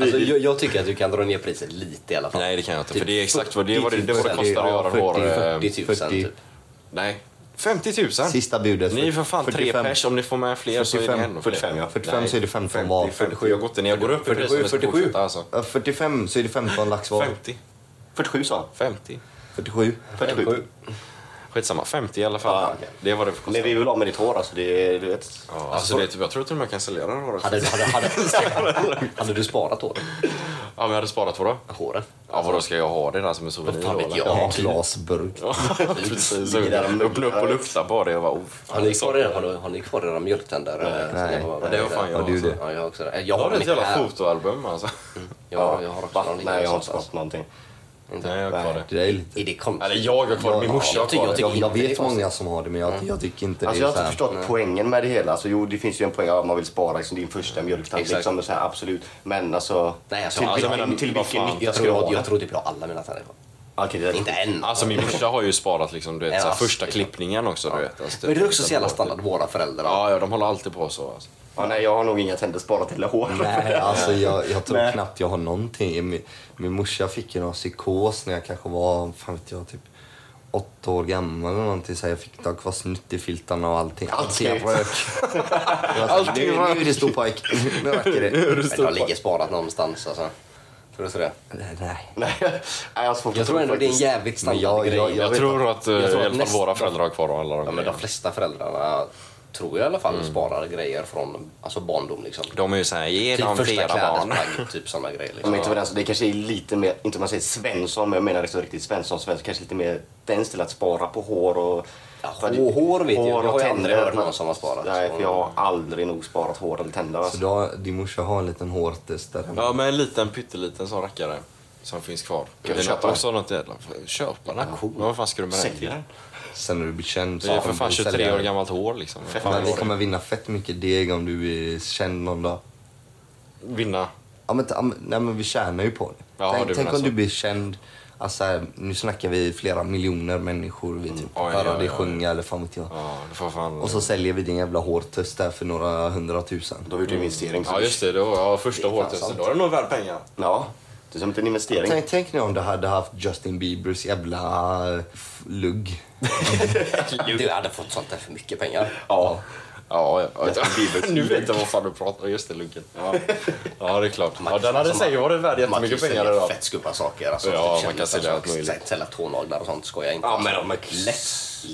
[SPEAKER 2] Alltså, jag, jag tycker att du kan dra ner priset lite i alla fall.
[SPEAKER 1] Nej det kan jag inte,
[SPEAKER 2] Typ
[SPEAKER 1] för det är exakt vad det, var det, det, var det
[SPEAKER 3] 40
[SPEAKER 1] kostar att göra
[SPEAKER 3] ja,
[SPEAKER 1] hår.
[SPEAKER 3] 40,
[SPEAKER 1] eh,
[SPEAKER 2] 40 000
[SPEAKER 3] 40.
[SPEAKER 2] typ.
[SPEAKER 1] Nej, 50 000!
[SPEAKER 3] Sista budet.
[SPEAKER 1] Ni är för fan tre
[SPEAKER 3] 45.
[SPEAKER 1] pers, om ni får med fler så är det
[SPEAKER 3] 45,
[SPEAKER 1] ännu
[SPEAKER 3] 45, ja. 45 så är det 15 var.
[SPEAKER 1] 47, jag har gått ner. Jag går upp i pris om
[SPEAKER 2] 47,
[SPEAKER 1] det ska
[SPEAKER 2] 47.
[SPEAKER 1] fortsätta, alltså.
[SPEAKER 3] Ja, 45 så är det 15 lax var.
[SPEAKER 1] 50.
[SPEAKER 4] 47 sa han.
[SPEAKER 1] 50.
[SPEAKER 3] 47.
[SPEAKER 4] 47.
[SPEAKER 1] Skitsamma, 50 i alla fall.
[SPEAKER 3] Ah,
[SPEAKER 4] Ja, okej.
[SPEAKER 1] Det var det för
[SPEAKER 4] Men
[SPEAKER 1] kostnad.
[SPEAKER 4] vi vill ha med ditt hår alltså. Det, du vet.
[SPEAKER 1] Ja, alltså, det, är typ- jag tror till och med jag kan sälja det här håret.
[SPEAKER 2] Hade, hade, hade, hade du sparat håret?
[SPEAKER 1] Ja, men jag hade sparat vadå?
[SPEAKER 2] Håret?
[SPEAKER 1] Ja, vadå ska jag ha det där som en souvenir
[SPEAKER 2] Vad fan
[SPEAKER 1] då,
[SPEAKER 2] vet
[SPEAKER 1] eller?
[SPEAKER 2] jag?
[SPEAKER 3] Ja, glasburk.
[SPEAKER 1] Precis,
[SPEAKER 4] Ligger där och
[SPEAKER 1] så öppna upp
[SPEAKER 4] mugglar.
[SPEAKER 1] och lukta på det och bara oh,
[SPEAKER 2] Har ni kvar era, har ni, har ni kvar era mjölktänder? eh, som
[SPEAKER 3] nej.
[SPEAKER 2] jag var-
[SPEAKER 1] Ja, det har fan jag
[SPEAKER 3] Ja, du
[SPEAKER 1] också.
[SPEAKER 3] det.
[SPEAKER 2] Ja, jag har också det. Jag
[SPEAKER 1] Jag
[SPEAKER 2] har
[SPEAKER 1] har ett
[SPEAKER 2] mitt Mm.
[SPEAKER 1] jävla
[SPEAKER 2] här.
[SPEAKER 1] fotoalbum alltså.
[SPEAKER 2] Jag, jag har också
[SPEAKER 4] Va?
[SPEAKER 2] någon
[SPEAKER 4] Nej, jag
[SPEAKER 2] liten
[SPEAKER 4] har Alltså, inte
[SPEAKER 2] sån.
[SPEAKER 4] fått någonting.
[SPEAKER 1] Nej, jag har kvar det.
[SPEAKER 3] Det är lite...
[SPEAKER 2] Är det konstigt?
[SPEAKER 1] Eller jag har kvar det, min morsa har
[SPEAKER 2] jag tycker-
[SPEAKER 1] kvar
[SPEAKER 2] jag
[SPEAKER 1] det.
[SPEAKER 2] tycker-
[SPEAKER 3] Jag, jag
[SPEAKER 2] inte det är
[SPEAKER 3] vet många som har det men jag, jag tycker inte det
[SPEAKER 4] Alltså jag
[SPEAKER 3] är
[SPEAKER 4] har
[SPEAKER 3] så
[SPEAKER 4] inte
[SPEAKER 3] här.
[SPEAKER 4] förstått poängen med det hela. Alltså, jo, det finns ju en poäng av att man vill spara liksom, din första mjölktand.
[SPEAKER 2] Exakt.
[SPEAKER 4] Liksom, och så här, absolut. Men alltså...
[SPEAKER 2] Nej, alltså,
[SPEAKER 4] till,
[SPEAKER 2] alltså,
[SPEAKER 4] vilken-
[SPEAKER 1] men-
[SPEAKER 4] till
[SPEAKER 1] vad
[SPEAKER 4] vilken
[SPEAKER 1] fan.
[SPEAKER 4] nytta
[SPEAKER 2] Jag
[SPEAKER 4] ska du ha
[SPEAKER 2] tror,
[SPEAKER 4] det?
[SPEAKER 2] jag tror typ jag har alla mina tänder kvar.
[SPEAKER 4] Okej, det är-
[SPEAKER 2] Inte än.
[SPEAKER 1] Alltså min morsa har ju sparat liksom, du vet,
[SPEAKER 2] Ja,
[SPEAKER 1] så här,
[SPEAKER 2] alltså,
[SPEAKER 1] första
[SPEAKER 2] det är
[SPEAKER 1] klippningen också. Du vet, alltså, typ.
[SPEAKER 2] Men det är också så jävla standard, våra föräldrar.
[SPEAKER 1] Ja, ja, de håller alltid på så. Alltså.
[SPEAKER 4] ja, nej, jag har nog inga tänder sparat eller hår.
[SPEAKER 3] Nej, alltså jag, jag tror knappt jag har någonting. Min, min morsa fick ju någon psykos när jag kanske var, fan vet jag, typ åtta år gammal eller någonting. Så jag fick ta kvar snuttefiltarna och allting. Allting
[SPEAKER 4] Allting.
[SPEAKER 3] rök. Jag bara,
[SPEAKER 1] Allting
[SPEAKER 3] nu,
[SPEAKER 1] rök.
[SPEAKER 3] nu är det stor pojk. Nu räcker det.
[SPEAKER 2] Men de ligger sparat någonstans alltså. Tror du så det?
[SPEAKER 3] Nej, Nej.
[SPEAKER 4] nej, jag har svårt
[SPEAKER 2] Jag
[SPEAKER 4] att
[SPEAKER 2] tror
[SPEAKER 4] tro
[SPEAKER 2] ändå det är en
[SPEAKER 4] faktiskt.
[SPEAKER 2] jävligt standard
[SPEAKER 3] jag-
[SPEAKER 2] grej.
[SPEAKER 1] Jag,
[SPEAKER 3] vet
[SPEAKER 1] tror att, eh,
[SPEAKER 2] jag tror
[SPEAKER 1] i
[SPEAKER 2] att
[SPEAKER 1] alla fall
[SPEAKER 2] nästa-
[SPEAKER 1] våra föräldrar har kvar alla de
[SPEAKER 2] Ja, men de
[SPEAKER 1] grejerna.
[SPEAKER 2] flesta föräldrarna tror jag i alla fall sparar grejer från alltså barndom. Liksom.
[SPEAKER 1] De är ju såhär, ge
[SPEAKER 2] Typ
[SPEAKER 1] dem
[SPEAKER 2] första
[SPEAKER 1] flera barn.
[SPEAKER 2] klädesplagg, typ såna grejer.
[SPEAKER 4] Ja,
[SPEAKER 2] Liksom.
[SPEAKER 4] men inte vad det är, alltså, det kanske är lite mer, inte man säger Svensson, men jag menar liksom riktigt Svensson, Svensson. Kanske lite mer tendens till att spara på hår och...
[SPEAKER 2] Ja,
[SPEAKER 4] för att-
[SPEAKER 2] hår vet jag.
[SPEAKER 4] hår
[SPEAKER 2] Jag
[SPEAKER 4] och
[SPEAKER 2] har ju aldrig
[SPEAKER 4] tänder.
[SPEAKER 2] hört någon som har sparat.
[SPEAKER 4] Nej, för jag har aldrig nog sparat hår eller tänder.
[SPEAKER 3] Så
[SPEAKER 4] Alltså.
[SPEAKER 3] då, har- din morsa har en liten hårtest där hemma.
[SPEAKER 1] Ja, men en liten pytteliten sån rackare som finns kvar.
[SPEAKER 4] Kan vi
[SPEAKER 1] Det är
[SPEAKER 4] köpa
[SPEAKER 1] något
[SPEAKER 4] den?
[SPEAKER 1] också något jävla... Köpa den? Men Vad fan ska du med den?
[SPEAKER 4] Säljer den?
[SPEAKER 3] Sen när du blir känd så
[SPEAKER 1] Det är
[SPEAKER 3] kommer
[SPEAKER 1] för fan
[SPEAKER 3] du
[SPEAKER 1] 23
[SPEAKER 3] sälja
[SPEAKER 1] år
[SPEAKER 3] den.
[SPEAKER 1] gammalt hår liksom. Vad fan
[SPEAKER 3] Men vi
[SPEAKER 1] var det?
[SPEAKER 3] kommer vinna fett mycket deg om du är känd någon dag.
[SPEAKER 1] Vinna.
[SPEAKER 3] ja, men, ja, men- nej, men vi tjänar ju på det.
[SPEAKER 1] Ja,
[SPEAKER 3] tänk
[SPEAKER 1] du
[SPEAKER 3] tänk
[SPEAKER 1] menar
[SPEAKER 3] om
[SPEAKER 1] så.
[SPEAKER 3] du blir känd. Alltså, här, nu snackar vi flera miljoner människor. Vi typ
[SPEAKER 1] Mm. Oj,
[SPEAKER 3] hör
[SPEAKER 1] oj,
[SPEAKER 3] det
[SPEAKER 1] oj.
[SPEAKER 3] sjunga eller fan vet jag.
[SPEAKER 1] Ja, det får fan...
[SPEAKER 3] Och så säljer vi din jävla hårtuss där för några hundratusen.
[SPEAKER 4] De har gjort en investering.
[SPEAKER 1] Ja just det, det var ja, första hårtestet. Då är det nog värt pengar.
[SPEAKER 4] Ja, det är som en investering.
[SPEAKER 3] Tänk, tänk nu om du hade haft Justin Biebers jävla eh, f- lugg.
[SPEAKER 2] Du hade fått sånt där för mycket pengar.
[SPEAKER 1] Ja. Ja, ja. nu vet jag vad fan du pratar om. Just det, Lunken. Ja. ja, det är klart. Ja, den hade säkert varit värd
[SPEAKER 2] Man kan
[SPEAKER 1] jättemycket
[SPEAKER 2] sälja
[SPEAKER 1] pengar idag.
[SPEAKER 2] fett skumma saker. Alltså,
[SPEAKER 1] Ja, man
[SPEAKER 2] kändisar
[SPEAKER 1] kan sälja
[SPEAKER 2] som
[SPEAKER 1] allt möjligt.
[SPEAKER 2] sä- Sälja tånaglar och sånt skojar jag inte.
[SPEAKER 4] Ja, men de är-
[SPEAKER 2] Lätt.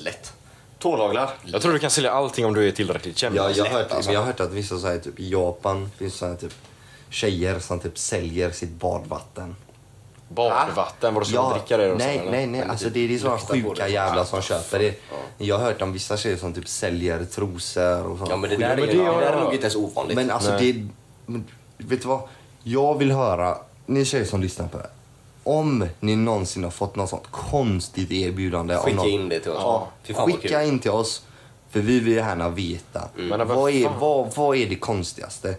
[SPEAKER 2] Lätt.
[SPEAKER 4] Tånaglar.
[SPEAKER 1] Jag tror du kan sälja allting om du är tillräckligt känd.
[SPEAKER 3] Jag, jag, har hört,
[SPEAKER 2] alltså.
[SPEAKER 3] jag har hört att vissa så här, typ, i Japan finns så här, typ, tjejer som typ, säljer sitt badvatten.
[SPEAKER 1] Badvatten, vadå ska man dricka det? och så,
[SPEAKER 3] nej,
[SPEAKER 1] eller?
[SPEAKER 3] nej, nej. Alltså, det är det sådana
[SPEAKER 2] typ Lukta på det. liksom.
[SPEAKER 3] sjuka jävlar som
[SPEAKER 2] Ja,
[SPEAKER 3] köper det. Jag har hört om vissa tjejer som typ, säljer trosor och sånt.
[SPEAKER 2] Ja, men det
[SPEAKER 3] skit.
[SPEAKER 2] där är,
[SPEAKER 1] men
[SPEAKER 2] det
[SPEAKER 1] det har
[SPEAKER 2] där
[SPEAKER 1] jag-
[SPEAKER 2] är nog inte ens ovanligt.
[SPEAKER 3] Men alltså det... Men, vet du vad? Jag vill höra, ni tjejer som lyssnar på det här. Om ni någonsin har fått något sånt konstigt erbjudande. av
[SPEAKER 2] Skicka
[SPEAKER 3] någon,
[SPEAKER 2] in det till oss.
[SPEAKER 3] Ja,
[SPEAKER 2] Fy fan vad
[SPEAKER 3] skicka
[SPEAKER 2] kul. Mm.
[SPEAKER 3] in till oss. För vi vill gärna veta.
[SPEAKER 1] Men vad
[SPEAKER 3] vad, är,
[SPEAKER 1] fan?
[SPEAKER 3] vad, vad är det konstigaste?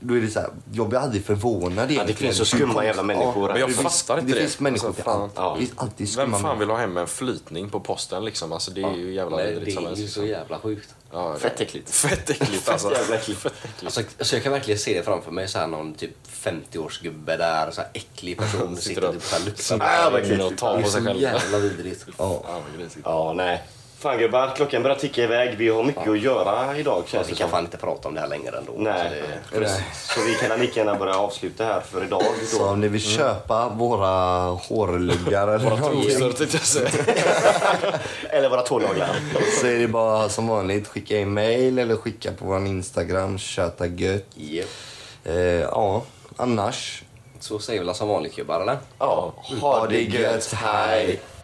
[SPEAKER 3] Då är det så här, jag blir aldrig förvånad
[SPEAKER 4] Ja, det finns så skumma jävla människor.
[SPEAKER 1] Men jag
[SPEAKER 4] Det finns-
[SPEAKER 1] fattar
[SPEAKER 3] Det,
[SPEAKER 1] inte det.
[SPEAKER 3] finns människor
[SPEAKER 1] Alltså,
[SPEAKER 3] till
[SPEAKER 1] fan.
[SPEAKER 3] allt.
[SPEAKER 4] Ja.
[SPEAKER 3] Det finns alltid
[SPEAKER 1] Vem
[SPEAKER 3] skumma
[SPEAKER 1] fan
[SPEAKER 3] människor.
[SPEAKER 1] vill ha hem en flytning på posten liksom? Alltså det är ju jävla
[SPEAKER 2] Nej, det
[SPEAKER 1] vidrigt som
[SPEAKER 2] är ju
[SPEAKER 1] helst. liksom.
[SPEAKER 2] så jävla sjukt.
[SPEAKER 1] Ja, det-
[SPEAKER 4] Fett äckligt.
[SPEAKER 1] Fett äckligt alltså.
[SPEAKER 4] Fett jävla äckligt.
[SPEAKER 1] Fett äckligt.
[SPEAKER 2] Alltså, alltså jag kan verkligen se det framför mig, så här någon typ 50-årsgubbe där, så här äcklig person
[SPEAKER 1] Sitter
[SPEAKER 2] sitter
[SPEAKER 1] där.
[SPEAKER 2] typ så här luktar.
[SPEAKER 1] Som
[SPEAKER 2] Det
[SPEAKER 4] Ah, vad
[SPEAKER 1] är inne och
[SPEAKER 4] äckligt.
[SPEAKER 1] tar
[SPEAKER 2] är
[SPEAKER 1] på sig
[SPEAKER 2] så
[SPEAKER 1] själv.
[SPEAKER 2] jävla vidrigt.
[SPEAKER 3] Ja.
[SPEAKER 1] Ja, vad grisigt.
[SPEAKER 4] Ja, nej. Fan gubbar, klockan börjar ticka iväg. Vi har mycket att göra idag känns
[SPEAKER 2] Vi
[SPEAKER 4] det
[SPEAKER 2] kan
[SPEAKER 4] som.
[SPEAKER 2] fan inte prata om det här längre ändå.
[SPEAKER 4] Nej,
[SPEAKER 2] Så det,
[SPEAKER 4] precis. Så vi kan lika gärna börja avsluta här för idag.
[SPEAKER 3] Så
[SPEAKER 4] Då.
[SPEAKER 3] om ni vill köpa våra hårluggar eller
[SPEAKER 1] Våra trosor
[SPEAKER 3] någonting,
[SPEAKER 1] tänkte jag säga.
[SPEAKER 4] Eller våra tånaglar.
[SPEAKER 3] så är det bara som vanligt skicka in mail eller skicka på vår Instagram, köta gött.
[SPEAKER 2] Japp.
[SPEAKER 3] Eh, ja, annars.
[SPEAKER 2] så säger vi väl som vanligt gubbar eller?
[SPEAKER 4] Ja,
[SPEAKER 3] Ha det gött, hej!